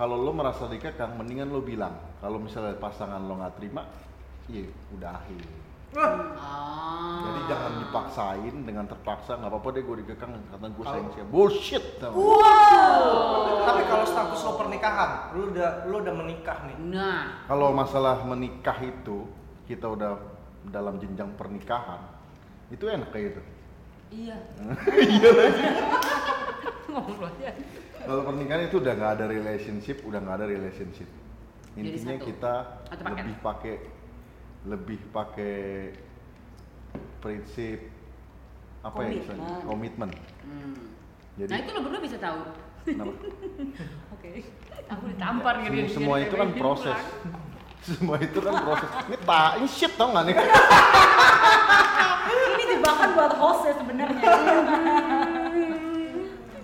Speaker 1: kalau lu merasa dikekang mendingan lu bilang kalau misalnya pasangan lu nggak terima iya udahin
Speaker 3: Wah,
Speaker 2: oh
Speaker 1: jadi jangan dipaksain dengan terpaksa nggak apa-apa deh gue dikekang kata gue sayang siapa bullshit tau.
Speaker 3: Tapi kalau status lo pernikahan, lu udah lu udah menikah nih.
Speaker 2: nah
Speaker 1: kalau masalah menikah itu kita udah dalam jenjang pernikahan itu enak kayak gitu
Speaker 2: iya ngomong lu aja
Speaker 1: kalau pernikahan itu udah nggak ada relationship udah nggak ada relationship
Speaker 2: Jadi
Speaker 1: intinya
Speaker 2: satu.
Speaker 1: kita
Speaker 2: Satu paket.
Speaker 1: lebih pakai lebih pakai prinsip apa ya
Speaker 4: Komitmen.
Speaker 1: misalnya komitmen
Speaker 2: hmm.
Speaker 1: jadi
Speaker 2: nah itu lo berdua bisa tahu
Speaker 1: kenapa?
Speaker 4: oke
Speaker 2: aku ditampar
Speaker 1: Ya,
Speaker 2: gitu
Speaker 1: semua,
Speaker 2: dia-
Speaker 1: semua
Speaker 2: dia
Speaker 1: itu kan
Speaker 2: dibebasin
Speaker 1: proses
Speaker 2: pulang.
Speaker 1: semua itu kan proses ini tak ini shit tau nggak nih
Speaker 4: ini jebakan buat hostnya sebenarnya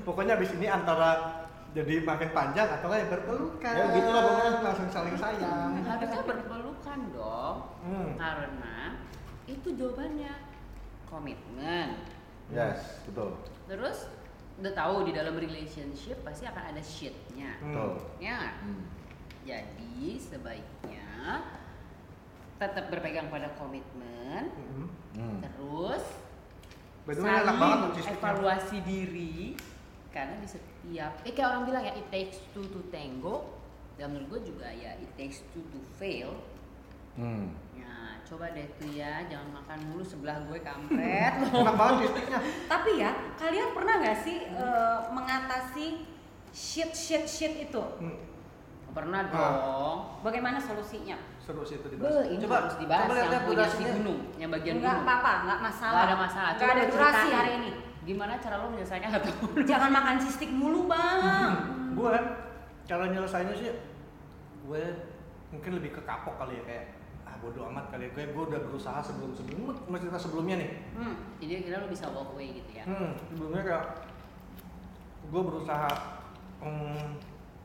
Speaker 3: Pokoknya abis ini antara jadi makin panjang atau nggak ya berpelukan.
Speaker 1: Ya, gitu lah pokoknya.
Speaker 3: langsung saling sayang.
Speaker 2: Nah, harusnya berpelukan jangan dong.
Speaker 3: Hmm.
Speaker 2: Karena itu jawabannya komitmen.
Speaker 1: Yes, betul.
Speaker 2: Terus udah tahu di dalam relationship pasti akan ada shitnya.
Speaker 3: Hmm.
Speaker 1: Betul.
Speaker 2: Ya. nggak?
Speaker 1: Hmm.
Speaker 2: Jadi sebaiknya tetap berpegang pada komitmen.
Speaker 3: Mm-mm.
Speaker 1: Hmm.
Speaker 2: Terus
Speaker 3: By the way, enak banget tuh cheesecake-nya.
Speaker 2: evaluasi diri karena di setiap eh kayak orang bilang ya it takes two to tango dan menurut gue juga ya it takes two to fail
Speaker 1: Hmm.
Speaker 2: nah coba deh tuh ya jangan makan mulu sebelah gue kampret
Speaker 3: Enak banget cheesecake-nya.
Speaker 4: Tapi ya, kalian pernah nggak sih eh, mengatasi shit shit shit itu?
Speaker 3: Hmm,
Speaker 2: pernah
Speaker 3: Ah.
Speaker 2: dong
Speaker 4: Bagaimana solusinya?
Speaker 3: Seru sih itu
Speaker 2: Be,
Speaker 3: dibahas.
Speaker 2: ini
Speaker 3: Coba
Speaker 2: harus dibahas
Speaker 3: coba lihat
Speaker 2: yang
Speaker 3: lihat
Speaker 2: punya si
Speaker 3: durasinya.
Speaker 2: gunung yang bagian
Speaker 4: Nggak
Speaker 2: gunung
Speaker 4: apa-apa, nggak masalah.
Speaker 2: Gak ada masalah
Speaker 4: Nggak
Speaker 2: Coba
Speaker 4: ada durasi
Speaker 2: ceritain.
Speaker 4: hari ini.
Speaker 2: gimana cara lo menyelesaikan atau
Speaker 4: Jangan makan cistik mulu bang.
Speaker 3: Gue kan kalau nyelesainnya sih gue mungkin lebih ke kapok kali ya kayak ah bodo amat kali ya gue gue udah berusaha sebelum sebelum cerita sebelumnya nih
Speaker 4: Hmm.
Speaker 2: jadi akhirnya lo bisa walk away gitu ya
Speaker 3: hmm, sebelumnya kayak gue berusaha mm,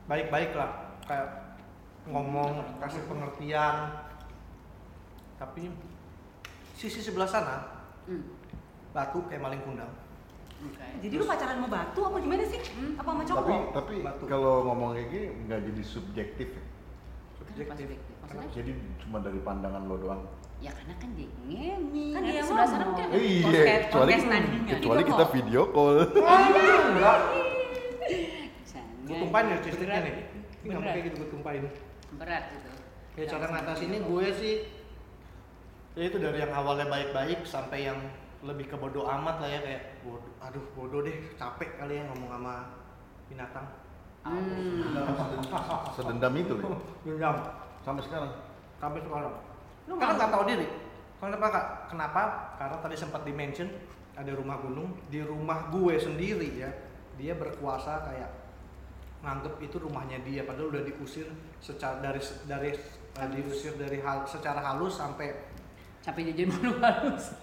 Speaker 3: baik-baik lah kayak ngomong kasih pengertian tapi sisi sebelah sana
Speaker 2: hmm.
Speaker 3: batu kayak maling kundang
Speaker 2: oke. Kan
Speaker 4: Jadi lu pacaran sama batu apa gimana sih?
Speaker 2: Hmm.
Speaker 4: Apa sama
Speaker 1: Tapi
Speaker 4: cowok?
Speaker 1: tapi
Speaker 3: Batu.
Speaker 1: kalau ngomong kayak gini nggak jadi subjektif. ya?
Speaker 2: Kenapa subjektif? Maksudnya?
Speaker 1: Jadi cuma dari pandangan lo doang.
Speaker 2: ya karena kan dia ngemi
Speaker 4: Kan
Speaker 2: nanti
Speaker 4: dia
Speaker 2: sebelah sana
Speaker 4: ngomong.
Speaker 2: mungkin ada podcast-
Speaker 1: Iya, kecuali
Speaker 2: podcast nantinya
Speaker 1: kecuali
Speaker 4: Video
Speaker 1: kita
Speaker 4: call.
Speaker 1: video call.
Speaker 3: Kenapa? enggak
Speaker 2: Misalnya,
Speaker 3: gue tumpahin ya cheesecake-nya
Speaker 2: berat,
Speaker 3: nih ini nggak
Speaker 2: berat,
Speaker 3: pakai gitu gue tumpahin
Speaker 2: berat gitu
Speaker 3: ya cara
Speaker 2: Jangan
Speaker 3: ngatasinnya
Speaker 2: sampai gitu.
Speaker 3: gue sih ya itu dari yang awalnya baik-baik sampai yang lebih ke bodoh amat lah ya kayak bodoh aduh bodoh deh capek kali ya ngomong sama binatang
Speaker 2: hmm.
Speaker 1: Sedendam itu loh.
Speaker 3: dendam
Speaker 1: Sampai sekarang.
Speaker 3: sampai sekarang
Speaker 4: Lu
Speaker 3: karena
Speaker 4: nggak-
Speaker 3: nggak tahu diri kenapa kak kenapa karena tadi sempat di mention ada rumah gunung di rumah gue sendiri ya dia berkuasa kayak nganggep itu rumahnya dia padahal udah diusir secara dari dari eh, diusir dari hal secara halus sampai
Speaker 2: sampai dia jadi malu halus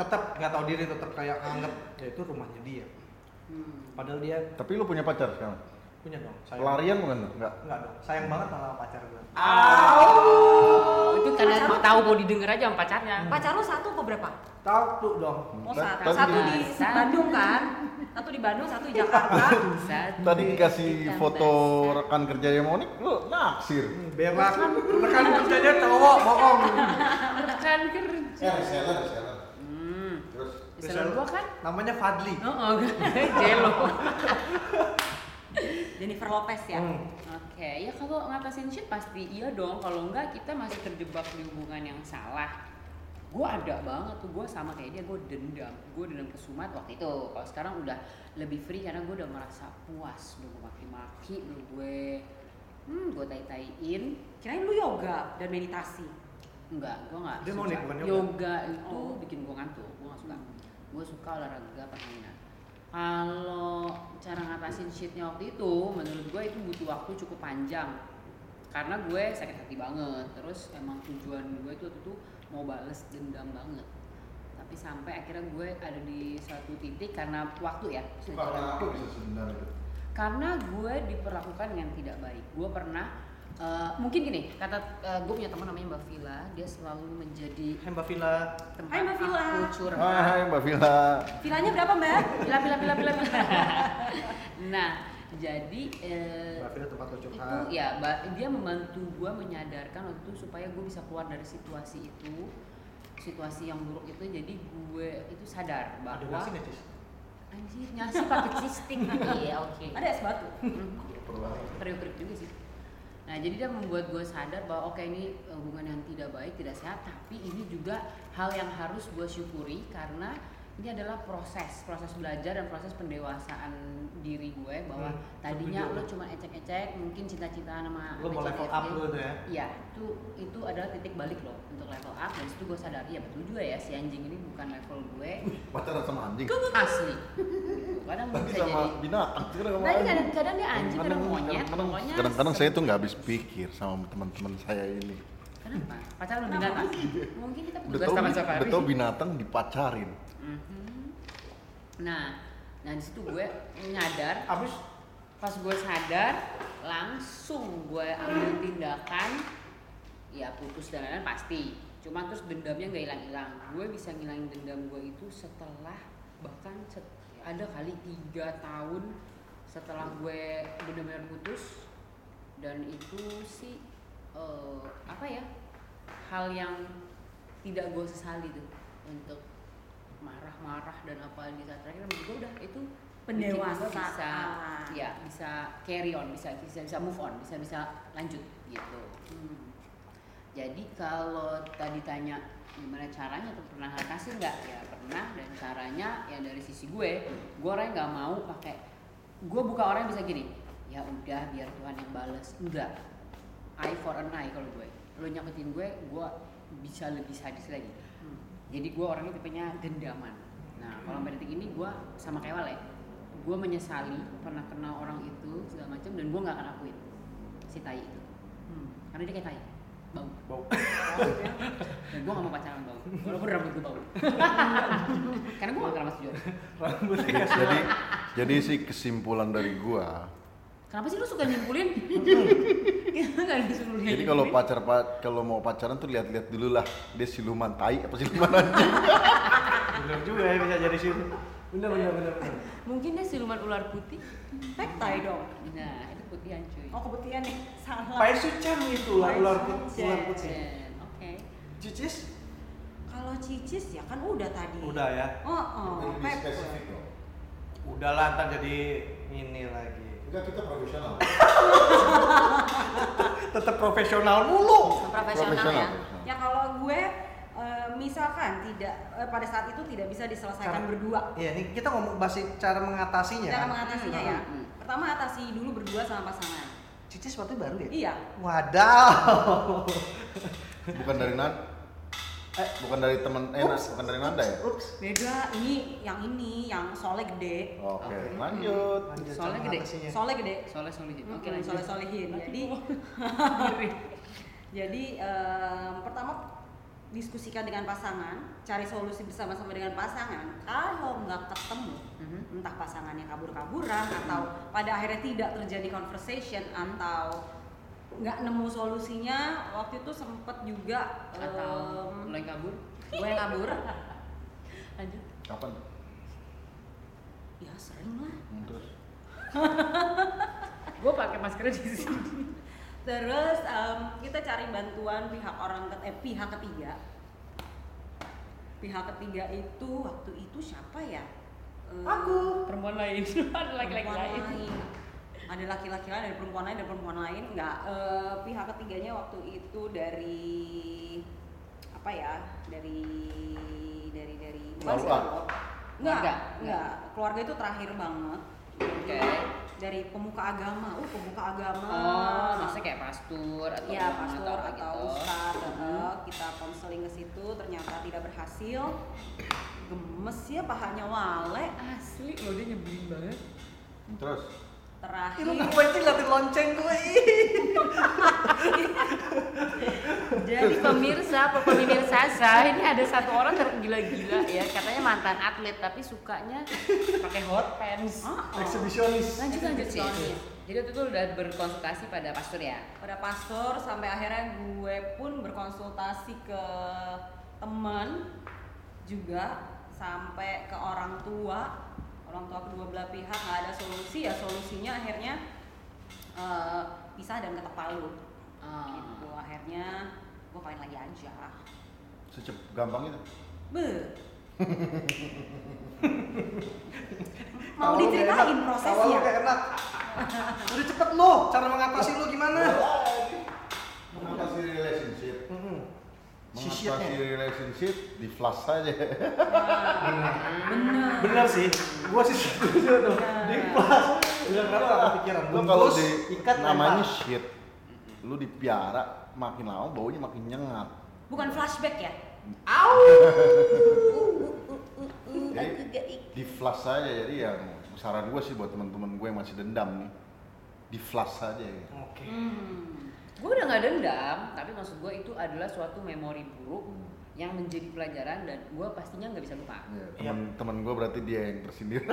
Speaker 3: tetap nggak tahu diri tetap kayak anggap ya itu rumahnya dia
Speaker 2: hmm.
Speaker 3: padahal dia
Speaker 1: Tapi lo punya pacar sekarang?
Speaker 3: punya dong sayang
Speaker 1: Pelarian bukan? Enggak.
Speaker 3: nggak dong sayang banget malah sama pacar gue
Speaker 2: oh, itu karena
Speaker 4: Pacar
Speaker 2: mau
Speaker 4: lu-
Speaker 2: tahu mau didengar aja sama pacarnya
Speaker 4: Pacar lu satu apa berapa?
Speaker 3: tahu tuh dong
Speaker 4: Oh
Speaker 1: Tadi-
Speaker 4: satu.
Speaker 1: tadi-
Speaker 4: Satu di
Speaker 2: Satu.
Speaker 4: Bandung kan? Satu di Bandung, satu di Jakarta.
Speaker 2: Satu
Speaker 1: Tadi dikasih
Speaker 2: ditambah
Speaker 1: foto
Speaker 2: satu.
Speaker 1: rekan kerjanya Monik, lo naksir.
Speaker 3: Hmm, berak rekan kerjanya cowok bohong
Speaker 2: rekan kerja
Speaker 1: Eh, reseller, reseller.
Speaker 2: hmm.
Speaker 1: Terus
Speaker 2: Misalnya gua kan
Speaker 3: namanya Fadli
Speaker 2: oh, oh jelo
Speaker 4: Jennifer Lopez ya.
Speaker 3: Hmm.
Speaker 2: Oke, ya kalau ngatasin shit pasti iya dong. Kalau enggak kita masih terjebak di hubungan yang salah. Gue ada banget tuh, gue sama kayak dia, gue dendam. Gue dendam ke Sumat waktu itu. Kalau sekarang udah lebih free karena gue udah merasa puas. Udah gue maki-maki, udah gue... Hmm, gue tai-taiin.
Speaker 4: Kirain lu yoga dan meditasi.
Speaker 2: Enggak, gue enggak
Speaker 3: Dia mau
Speaker 2: suka.
Speaker 3: nih, bukan yoga.
Speaker 2: yoga. itu
Speaker 4: Oh.
Speaker 2: bikin gue ngantuk, gue gak suka.
Speaker 4: Hmm.
Speaker 2: Gue suka olahraga permainan. Kalau cara ngatasin shitnya waktu itu, menurut gue itu butuh waktu cukup panjang. Karena gue sakit hati banget, terus emang tujuan gue itu waktu itu mau bales dendam banget. Tapi sampai akhirnya gue ada di satu titik karena waktu ya. bisa jalan waktu
Speaker 1: bisa sedendam itu?
Speaker 2: karena gue diperlakukan dengan tidak baik gue pernah eh, mungkin gini kata eh, gue punya teman namanya mbak Vila dia selalu menjadi
Speaker 3: Hai Mbak Vila
Speaker 2: tempat
Speaker 4: Hai, Mbak Vila.
Speaker 2: aku curhat
Speaker 1: Hai Mbak Vila.
Speaker 4: Vilanya berapa mbak?
Speaker 2: Vila Vila Vila Vila Vila. nah jadi eh,
Speaker 3: Mbak Vila tempat lo
Speaker 2: itu
Speaker 3: curhat
Speaker 2: ya ba- dia membantu gue menyadarkan waktu itu supaya gue bisa keluar dari situasi itu situasi yang buruk itu jadi gue itu sadar
Speaker 3: ada
Speaker 2: bahwa
Speaker 3: nasi nggak cis
Speaker 2: anjir nyasi pakai cisting iya oke
Speaker 4: Ada es batu. Hmm.
Speaker 2: periuk-periuk juga sih nah jadi dia membuat gue sadar bahwa oke ini eh, hubungan yang tidak baik tidak sehat tapi ini juga hal yang harus gue syukuri karena ini adalah proses proses belajar dan proses pendewasaan diri gue bahwa
Speaker 3: Hmm,
Speaker 2: tadinya
Speaker 3: setuju.
Speaker 2: lo cuma ecek-ecek mungkin cinta-cintaan sama
Speaker 3: lo mau
Speaker 2: BCFG.
Speaker 3: level up lo tuh ya
Speaker 2: Iya, itu itu adalah titik balik loh untuk level up dan itu gue sadar ya betul juga ya si anjing ini bukan level gue
Speaker 1: Pacaran sama anjing.
Speaker 2: asli. Gitu. Kadang
Speaker 1: Tapi
Speaker 2: bisa
Speaker 1: sama
Speaker 2: jadi
Speaker 1: binatang. sekarang sama
Speaker 2: Tadi
Speaker 1: anjing.
Speaker 2: Nah, kadang, kadang dia anjing, kadang monyet,
Speaker 1: kadang-
Speaker 2: pokoknya
Speaker 1: Kadang-kadang saya tuh nggak habis pikir sama teman-teman saya ini.
Speaker 2: Kenapa? Pacaran lebih
Speaker 4: Kenapa?
Speaker 2: binatang? Mungkin kita
Speaker 1: Udah
Speaker 2: petugas
Speaker 1: tau,
Speaker 2: taman safari.
Speaker 1: udah tau binatang dipacarin.
Speaker 2: Mhm. Nah, nah di situ gue nyadar,
Speaker 3: abis
Speaker 2: pas gue sadar langsung gue ambil tindakan Ya, putus dan lain-lain pasti cuma terus dendamnya nggak hilang-hilang gue bisa ngilangin dendam gue itu setelah bahkan set- ada kali tiga tahun setelah gue benar-benar putus dan itu sih eh, apa ya hal yang tidak gue sesali tuh untuk marah-marah dan apa di saat terakhir menurut gue udah itu bikin gue bisa
Speaker 4: Pendewasaan.
Speaker 2: ya bisa carry on bisa bisa bisa move on bisa bisa lanjut gitu Hmm. jadi kalau tadi tanya gimana caranya tuh pernah nggak kasih nggak ya pernah dan caranya ya dari sisi gue gue orang nggak mau pakai gue buka orang yang bisa gini ya udah biar Tuhan yang balas enggak eye for an eye kalau gue lo nyakitin gue gue bisa lebih sadis lagi jadi gue orangnya tipenya dendaman nah kalau sampai detik ini gue sama kayak Wale gue menyesali pernah kenal orang itu segala macam dan gue nggak akan akuin si tai itu karena dia kayak tai bau
Speaker 1: Bau.
Speaker 2: dan gue gak mau pacaran bau walaupun rambut gue bau karena gue gak kenal mas Jor
Speaker 3: Rambutnya
Speaker 1: Jadi- jadi jadi sih kesimpulan dari gua
Speaker 2: kenapa sih lu suka nyimpulin kita gak disuruh
Speaker 1: jadi
Speaker 2: nyimpulin.
Speaker 1: kalau pacar pa- kalau mau pacaran tuh lihat-lihat dulu lah dia siluman tai apa siluman
Speaker 2: Oh,
Speaker 1: anjing
Speaker 3: bener juga ya bisa jadi situ. Bener bener bener. bener.
Speaker 2: mungkin dia siluman ular putih
Speaker 4: Pektai dong.
Speaker 2: nah itu putihan cuy
Speaker 4: Oh kebutihan nih. Salah.
Speaker 3: Pai sucang itu ular ular put-
Speaker 4: Pai
Speaker 3: ular
Speaker 4: sucang.
Speaker 3: putih.
Speaker 2: Dan, oke
Speaker 3: Cicis
Speaker 4: Kalau cicis ya kan udah tadi.
Speaker 3: udah ya.
Speaker 4: Oh, oh. Pep.
Speaker 1: dong
Speaker 3: Udahlah ntar jadi ini lagi.
Speaker 1: enggak kita profesional
Speaker 3: Tetap profesional mulu.
Speaker 4: Profesional ya.
Speaker 1: Profesional.
Speaker 4: Ya kalau gue eh, misalkan tidak eh, pada saat itu tidak bisa
Speaker 3: Cara-
Speaker 4: diselesaikan berdua.
Speaker 3: Iya, ini kita ngomong bahas cara mengatasinya.
Speaker 4: Cara
Speaker 3: kan?
Speaker 4: mengatasinya ya.
Speaker 2: Iya. Hmm.
Speaker 4: Pertama atasi dulu berdua sama pasangan.
Speaker 3: Cicis waktu itu baru ya?
Speaker 4: Iya.
Speaker 3: Wadaw.
Speaker 1: bukan dari nan eh bukan dari teman eh Nan- bukan dari Nanda ya
Speaker 3: Ups.
Speaker 4: Beda ini yang ini yang soleh gede.
Speaker 1: oke Hmm.
Speaker 2: Oke.
Speaker 1: lanjut
Speaker 3: Lanjut cara
Speaker 2: Soalnya gede.
Speaker 3: mengatasinya.
Speaker 4: Soleh gede.
Speaker 2: Iya. Hmm, soleh solehin
Speaker 4: Mm-mm,
Speaker 2: oke lanjut Oh.
Speaker 4: soleh-solehin. Jadi jadi em, pertama diskusikan dengan pasangan, cari solusi bersama-sama dengan pasangan. Kalau nggak ketemu,
Speaker 2: Mhm.
Speaker 4: entah pasangannya kabur-kaburan atau pada akhirnya tidak terjadi conversation atau nggak nemu solusinya waktu itu sempet juga
Speaker 2: atau
Speaker 4: em,
Speaker 2: mulai kabur
Speaker 4: gue yang kabur
Speaker 2: lanjut
Speaker 1: kapan
Speaker 4: ya sering lah
Speaker 1: Hmm, terus
Speaker 2: gue pakai maskernya di sini
Speaker 4: terus em, kita cari bantuan pihak orang ke- eh, pihak ketiga pihak ketiga itu waktu itu siapa ya Em,
Speaker 2: perempuan lain ada laki-laki
Speaker 4: perempuan
Speaker 2: lain
Speaker 4: ada laki-laki lain ada perempuan lain ada perempuan lain nggak eh, pihak ketiganya waktu itu dari apa ya dari dari dari bukan sih,
Speaker 1: Keluarga.
Speaker 4: nggak
Speaker 2: Keluarga.
Speaker 4: nggak keluarga itu terakhir banget
Speaker 2: Oke.
Speaker 4: dari pemuka agama uh pemuka agama
Speaker 2: oh maksudnya kayak pastur atau
Speaker 4: Iya,
Speaker 2: imam
Speaker 4: pastor
Speaker 2: apa
Speaker 4: atau
Speaker 2: gitu.
Speaker 4: ustaz, eh, kita konseling ke situ ternyata tidak berhasil. Gemes ya pahanya wale.
Speaker 2: asli lo dia nyebelin banget
Speaker 1: Hmm, terus
Speaker 4: Terakhir
Speaker 3: Ih, lu ngapain sih liatin lonceng gue? Ih.
Speaker 2: Jadi pemirsa, apa pemirsa Zah, ini ada satu orang tergila-gila ya, katanya mantan atlet tapi sukanya pakai hot pants.
Speaker 4: Ah, oh.
Speaker 3: Eksibisionis.
Speaker 2: Lanjut lanjut sih.
Speaker 4: Eksibisionis.
Speaker 2: Jadi waktu itu udah berkonsultasi pada pastor ya.
Speaker 4: pada pastor sampai akhirnya gue pun berkonsultasi ke teman juga sampai ke orang tua orang tua kedua belah pihak nggak ada solusi ya solusinya akhirnya eh, pisah dan ketok palu
Speaker 2: Oh.
Speaker 4: gitu akhirnya gue main lagi aja
Speaker 1: secep gampang itu
Speaker 4: be mau
Speaker 3: Tawa lu kayak
Speaker 4: diceritain
Speaker 3: enak. Tawa lu
Speaker 4: prosesnya
Speaker 3: kayak enak. Udah cepet lu, cara mengatasi lu gimana?
Speaker 1: mengatasi relationship
Speaker 3: Mm-mm.
Speaker 1: mengatasi relationship di flash saja
Speaker 4: bener
Speaker 3: Bener sih, gua sih setuju tuh.
Speaker 4: Nah.
Speaker 3: Di kelas. Bener kenapa gak kepikiran?
Speaker 1: lu kalau
Speaker 3: Bungkus,
Speaker 1: di
Speaker 3: ikat
Speaker 1: namanya
Speaker 3: lempar.
Speaker 1: shit lu dipiara makin lama baunya makin nyengat
Speaker 4: bukan flashback ya
Speaker 1: Jadi di flash saja jadi ya saran gue sih buat teman-teman gue yang masih dendam nih di flash saja ya.
Speaker 3: Oke.
Speaker 4: Hmm.
Speaker 2: Gue udah nggak dendam, tapi maksud gue itu adalah suatu memori buruk yang menjadi pelajaran dan gue pastinya nggak bisa lupa.
Speaker 1: Ya,
Speaker 3: Iya.
Speaker 1: temen, temen gue berarti dia yang tersindir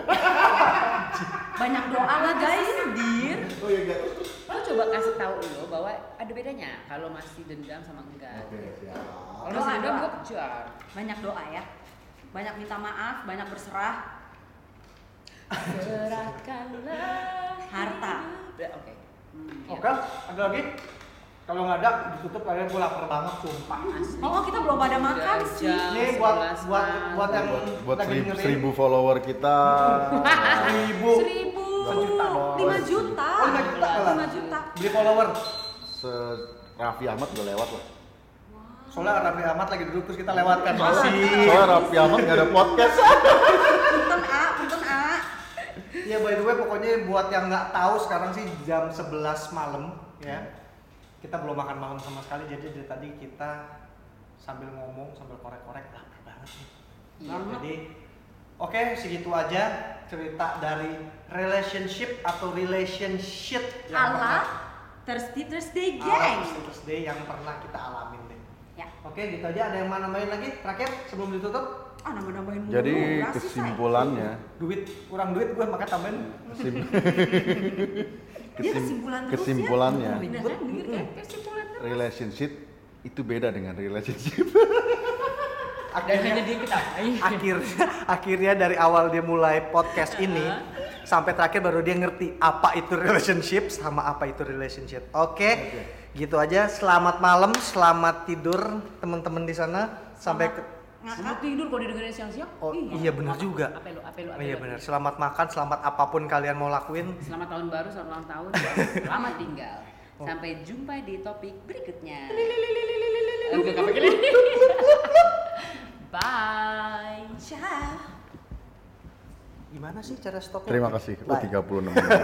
Speaker 2: Banyak doa lah guys, dir.
Speaker 1: oh iya enggak
Speaker 2: Lo coba kasih tahu lo bahwa ada bedanya kalau masih dendam sama enggak.
Speaker 1: oke siap
Speaker 2: Kalau masih
Speaker 4: Doa,
Speaker 2: dendam
Speaker 4: doa.
Speaker 2: gue kejar.
Speaker 4: Banyak doa ya. Banyak minta maaf, banyak berserah.
Speaker 2: Serahkanlah
Speaker 4: Harta.
Speaker 2: hidup- Ya, Oke. Hmm,
Speaker 3: Oke,
Speaker 2: ya.
Speaker 3: ada lagi? Kalau nggak ada, ditutup kalian gue lapar banget sumpah.
Speaker 2: Asli.
Speaker 4: Oh, kita belum pada
Speaker 2: Udah
Speaker 4: makan sih.
Speaker 2: jam
Speaker 3: Ini buat
Speaker 2: 11
Speaker 3: buat buat yang
Speaker 1: buat, buat
Speaker 3: lagi
Speaker 1: seribu,
Speaker 3: dengerin.
Speaker 1: seribu follower kita
Speaker 3: Seribu.
Speaker 4: Seribu,
Speaker 1: Sejuta doang.
Speaker 4: lima juta,
Speaker 3: Oh, lima juta malah.
Speaker 4: Lima juta.
Speaker 3: Beli follower.
Speaker 1: se Raffi Ahmad udah lewat lah
Speaker 3: Soalnya Raffi Ahmad lagi duduk terus kita
Speaker 4: Kan
Speaker 3: lewatkan.
Speaker 4: Iya.
Speaker 3: Masih.
Speaker 1: soalnya Raffi Ahmad gak ada podcast
Speaker 4: Punten A, punten A.
Speaker 3: Ya by the way pokoknya buat yang nggak tahu sekarang sih jam 11 malam ya. Kita belum makan malam sama sekali jadi dari tadi kita sambil ngomong sambil korek-korek lapar banget nih.
Speaker 2: Iya.
Speaker 3: Jadi oke segitu aja cerita dari relationship atau relationship
Speaker 4: Ala
Speaker 3: pernah-
Speaker 4: Thirsty Thursday
Speaker 3: ala
Speaker 4: Gang.
Speaker 3: Christmas Day yang pernah kita alamin deh.
Speaker 4: Ya.
Speaker 3: Oke, gitu aja ada yang mau nambahin lagi terakhir sebelum ditutup?
Speaker 4: Ah, nambah-nambahin mulu.
Speaker 1: jadi
Speaker 4: Basi, Shay.
Speaker 1: kesimpulannya
Speaker 3: Duit kurang duit gue makanya tambahin.
Speaker 1: kesim-
Speaker 4: Dia
Speaker 1: kesim-
Speaker 4: kesimpulan terus ya.
Speaker 1: kesimpulannya
Speaker 4: Bener kan? Bener kan? Kesimpulan terus.
Speaker 1: relationship itu beda dengan relationship
Speaker 3: Eh,
Speaker 2: Dan hanya dia kita.
Speaker 3: ah. akhir akhirnya dari awal dia mulai podcast ini sampai terakhir baru dia ngerti apa itu relationship sama apa itu relationship. Oke.
Speaker 1: Oke.
Speaker 3: Gitu aja. Selamat malam, selamat tidur teman-teman di sana. Sampai ke
Speaker 2: Selamat tidur kalau didengerin siang-siang.
Speaker 3: Ah. Oh, iya benar juga.
Speaker 2: Apa lo? Apa lo?
Speaker 3: Oh iya benar. Selamat makan, selamat apapun kalian mau lakuin.
Speaker 2: Selamat tahun baru, selamat ulang tahun, selamat tinggal. Sampai jumpa di topik berikutnya. Enggak, enggak pakai lilin. Bye.
Speaker 4: Ciao.
Speaker 3: Gimana sih cara stopnya?
Speaker 1: terima kasih
Speaker 3: Bye.
Speaker 1: oh, 36 menit.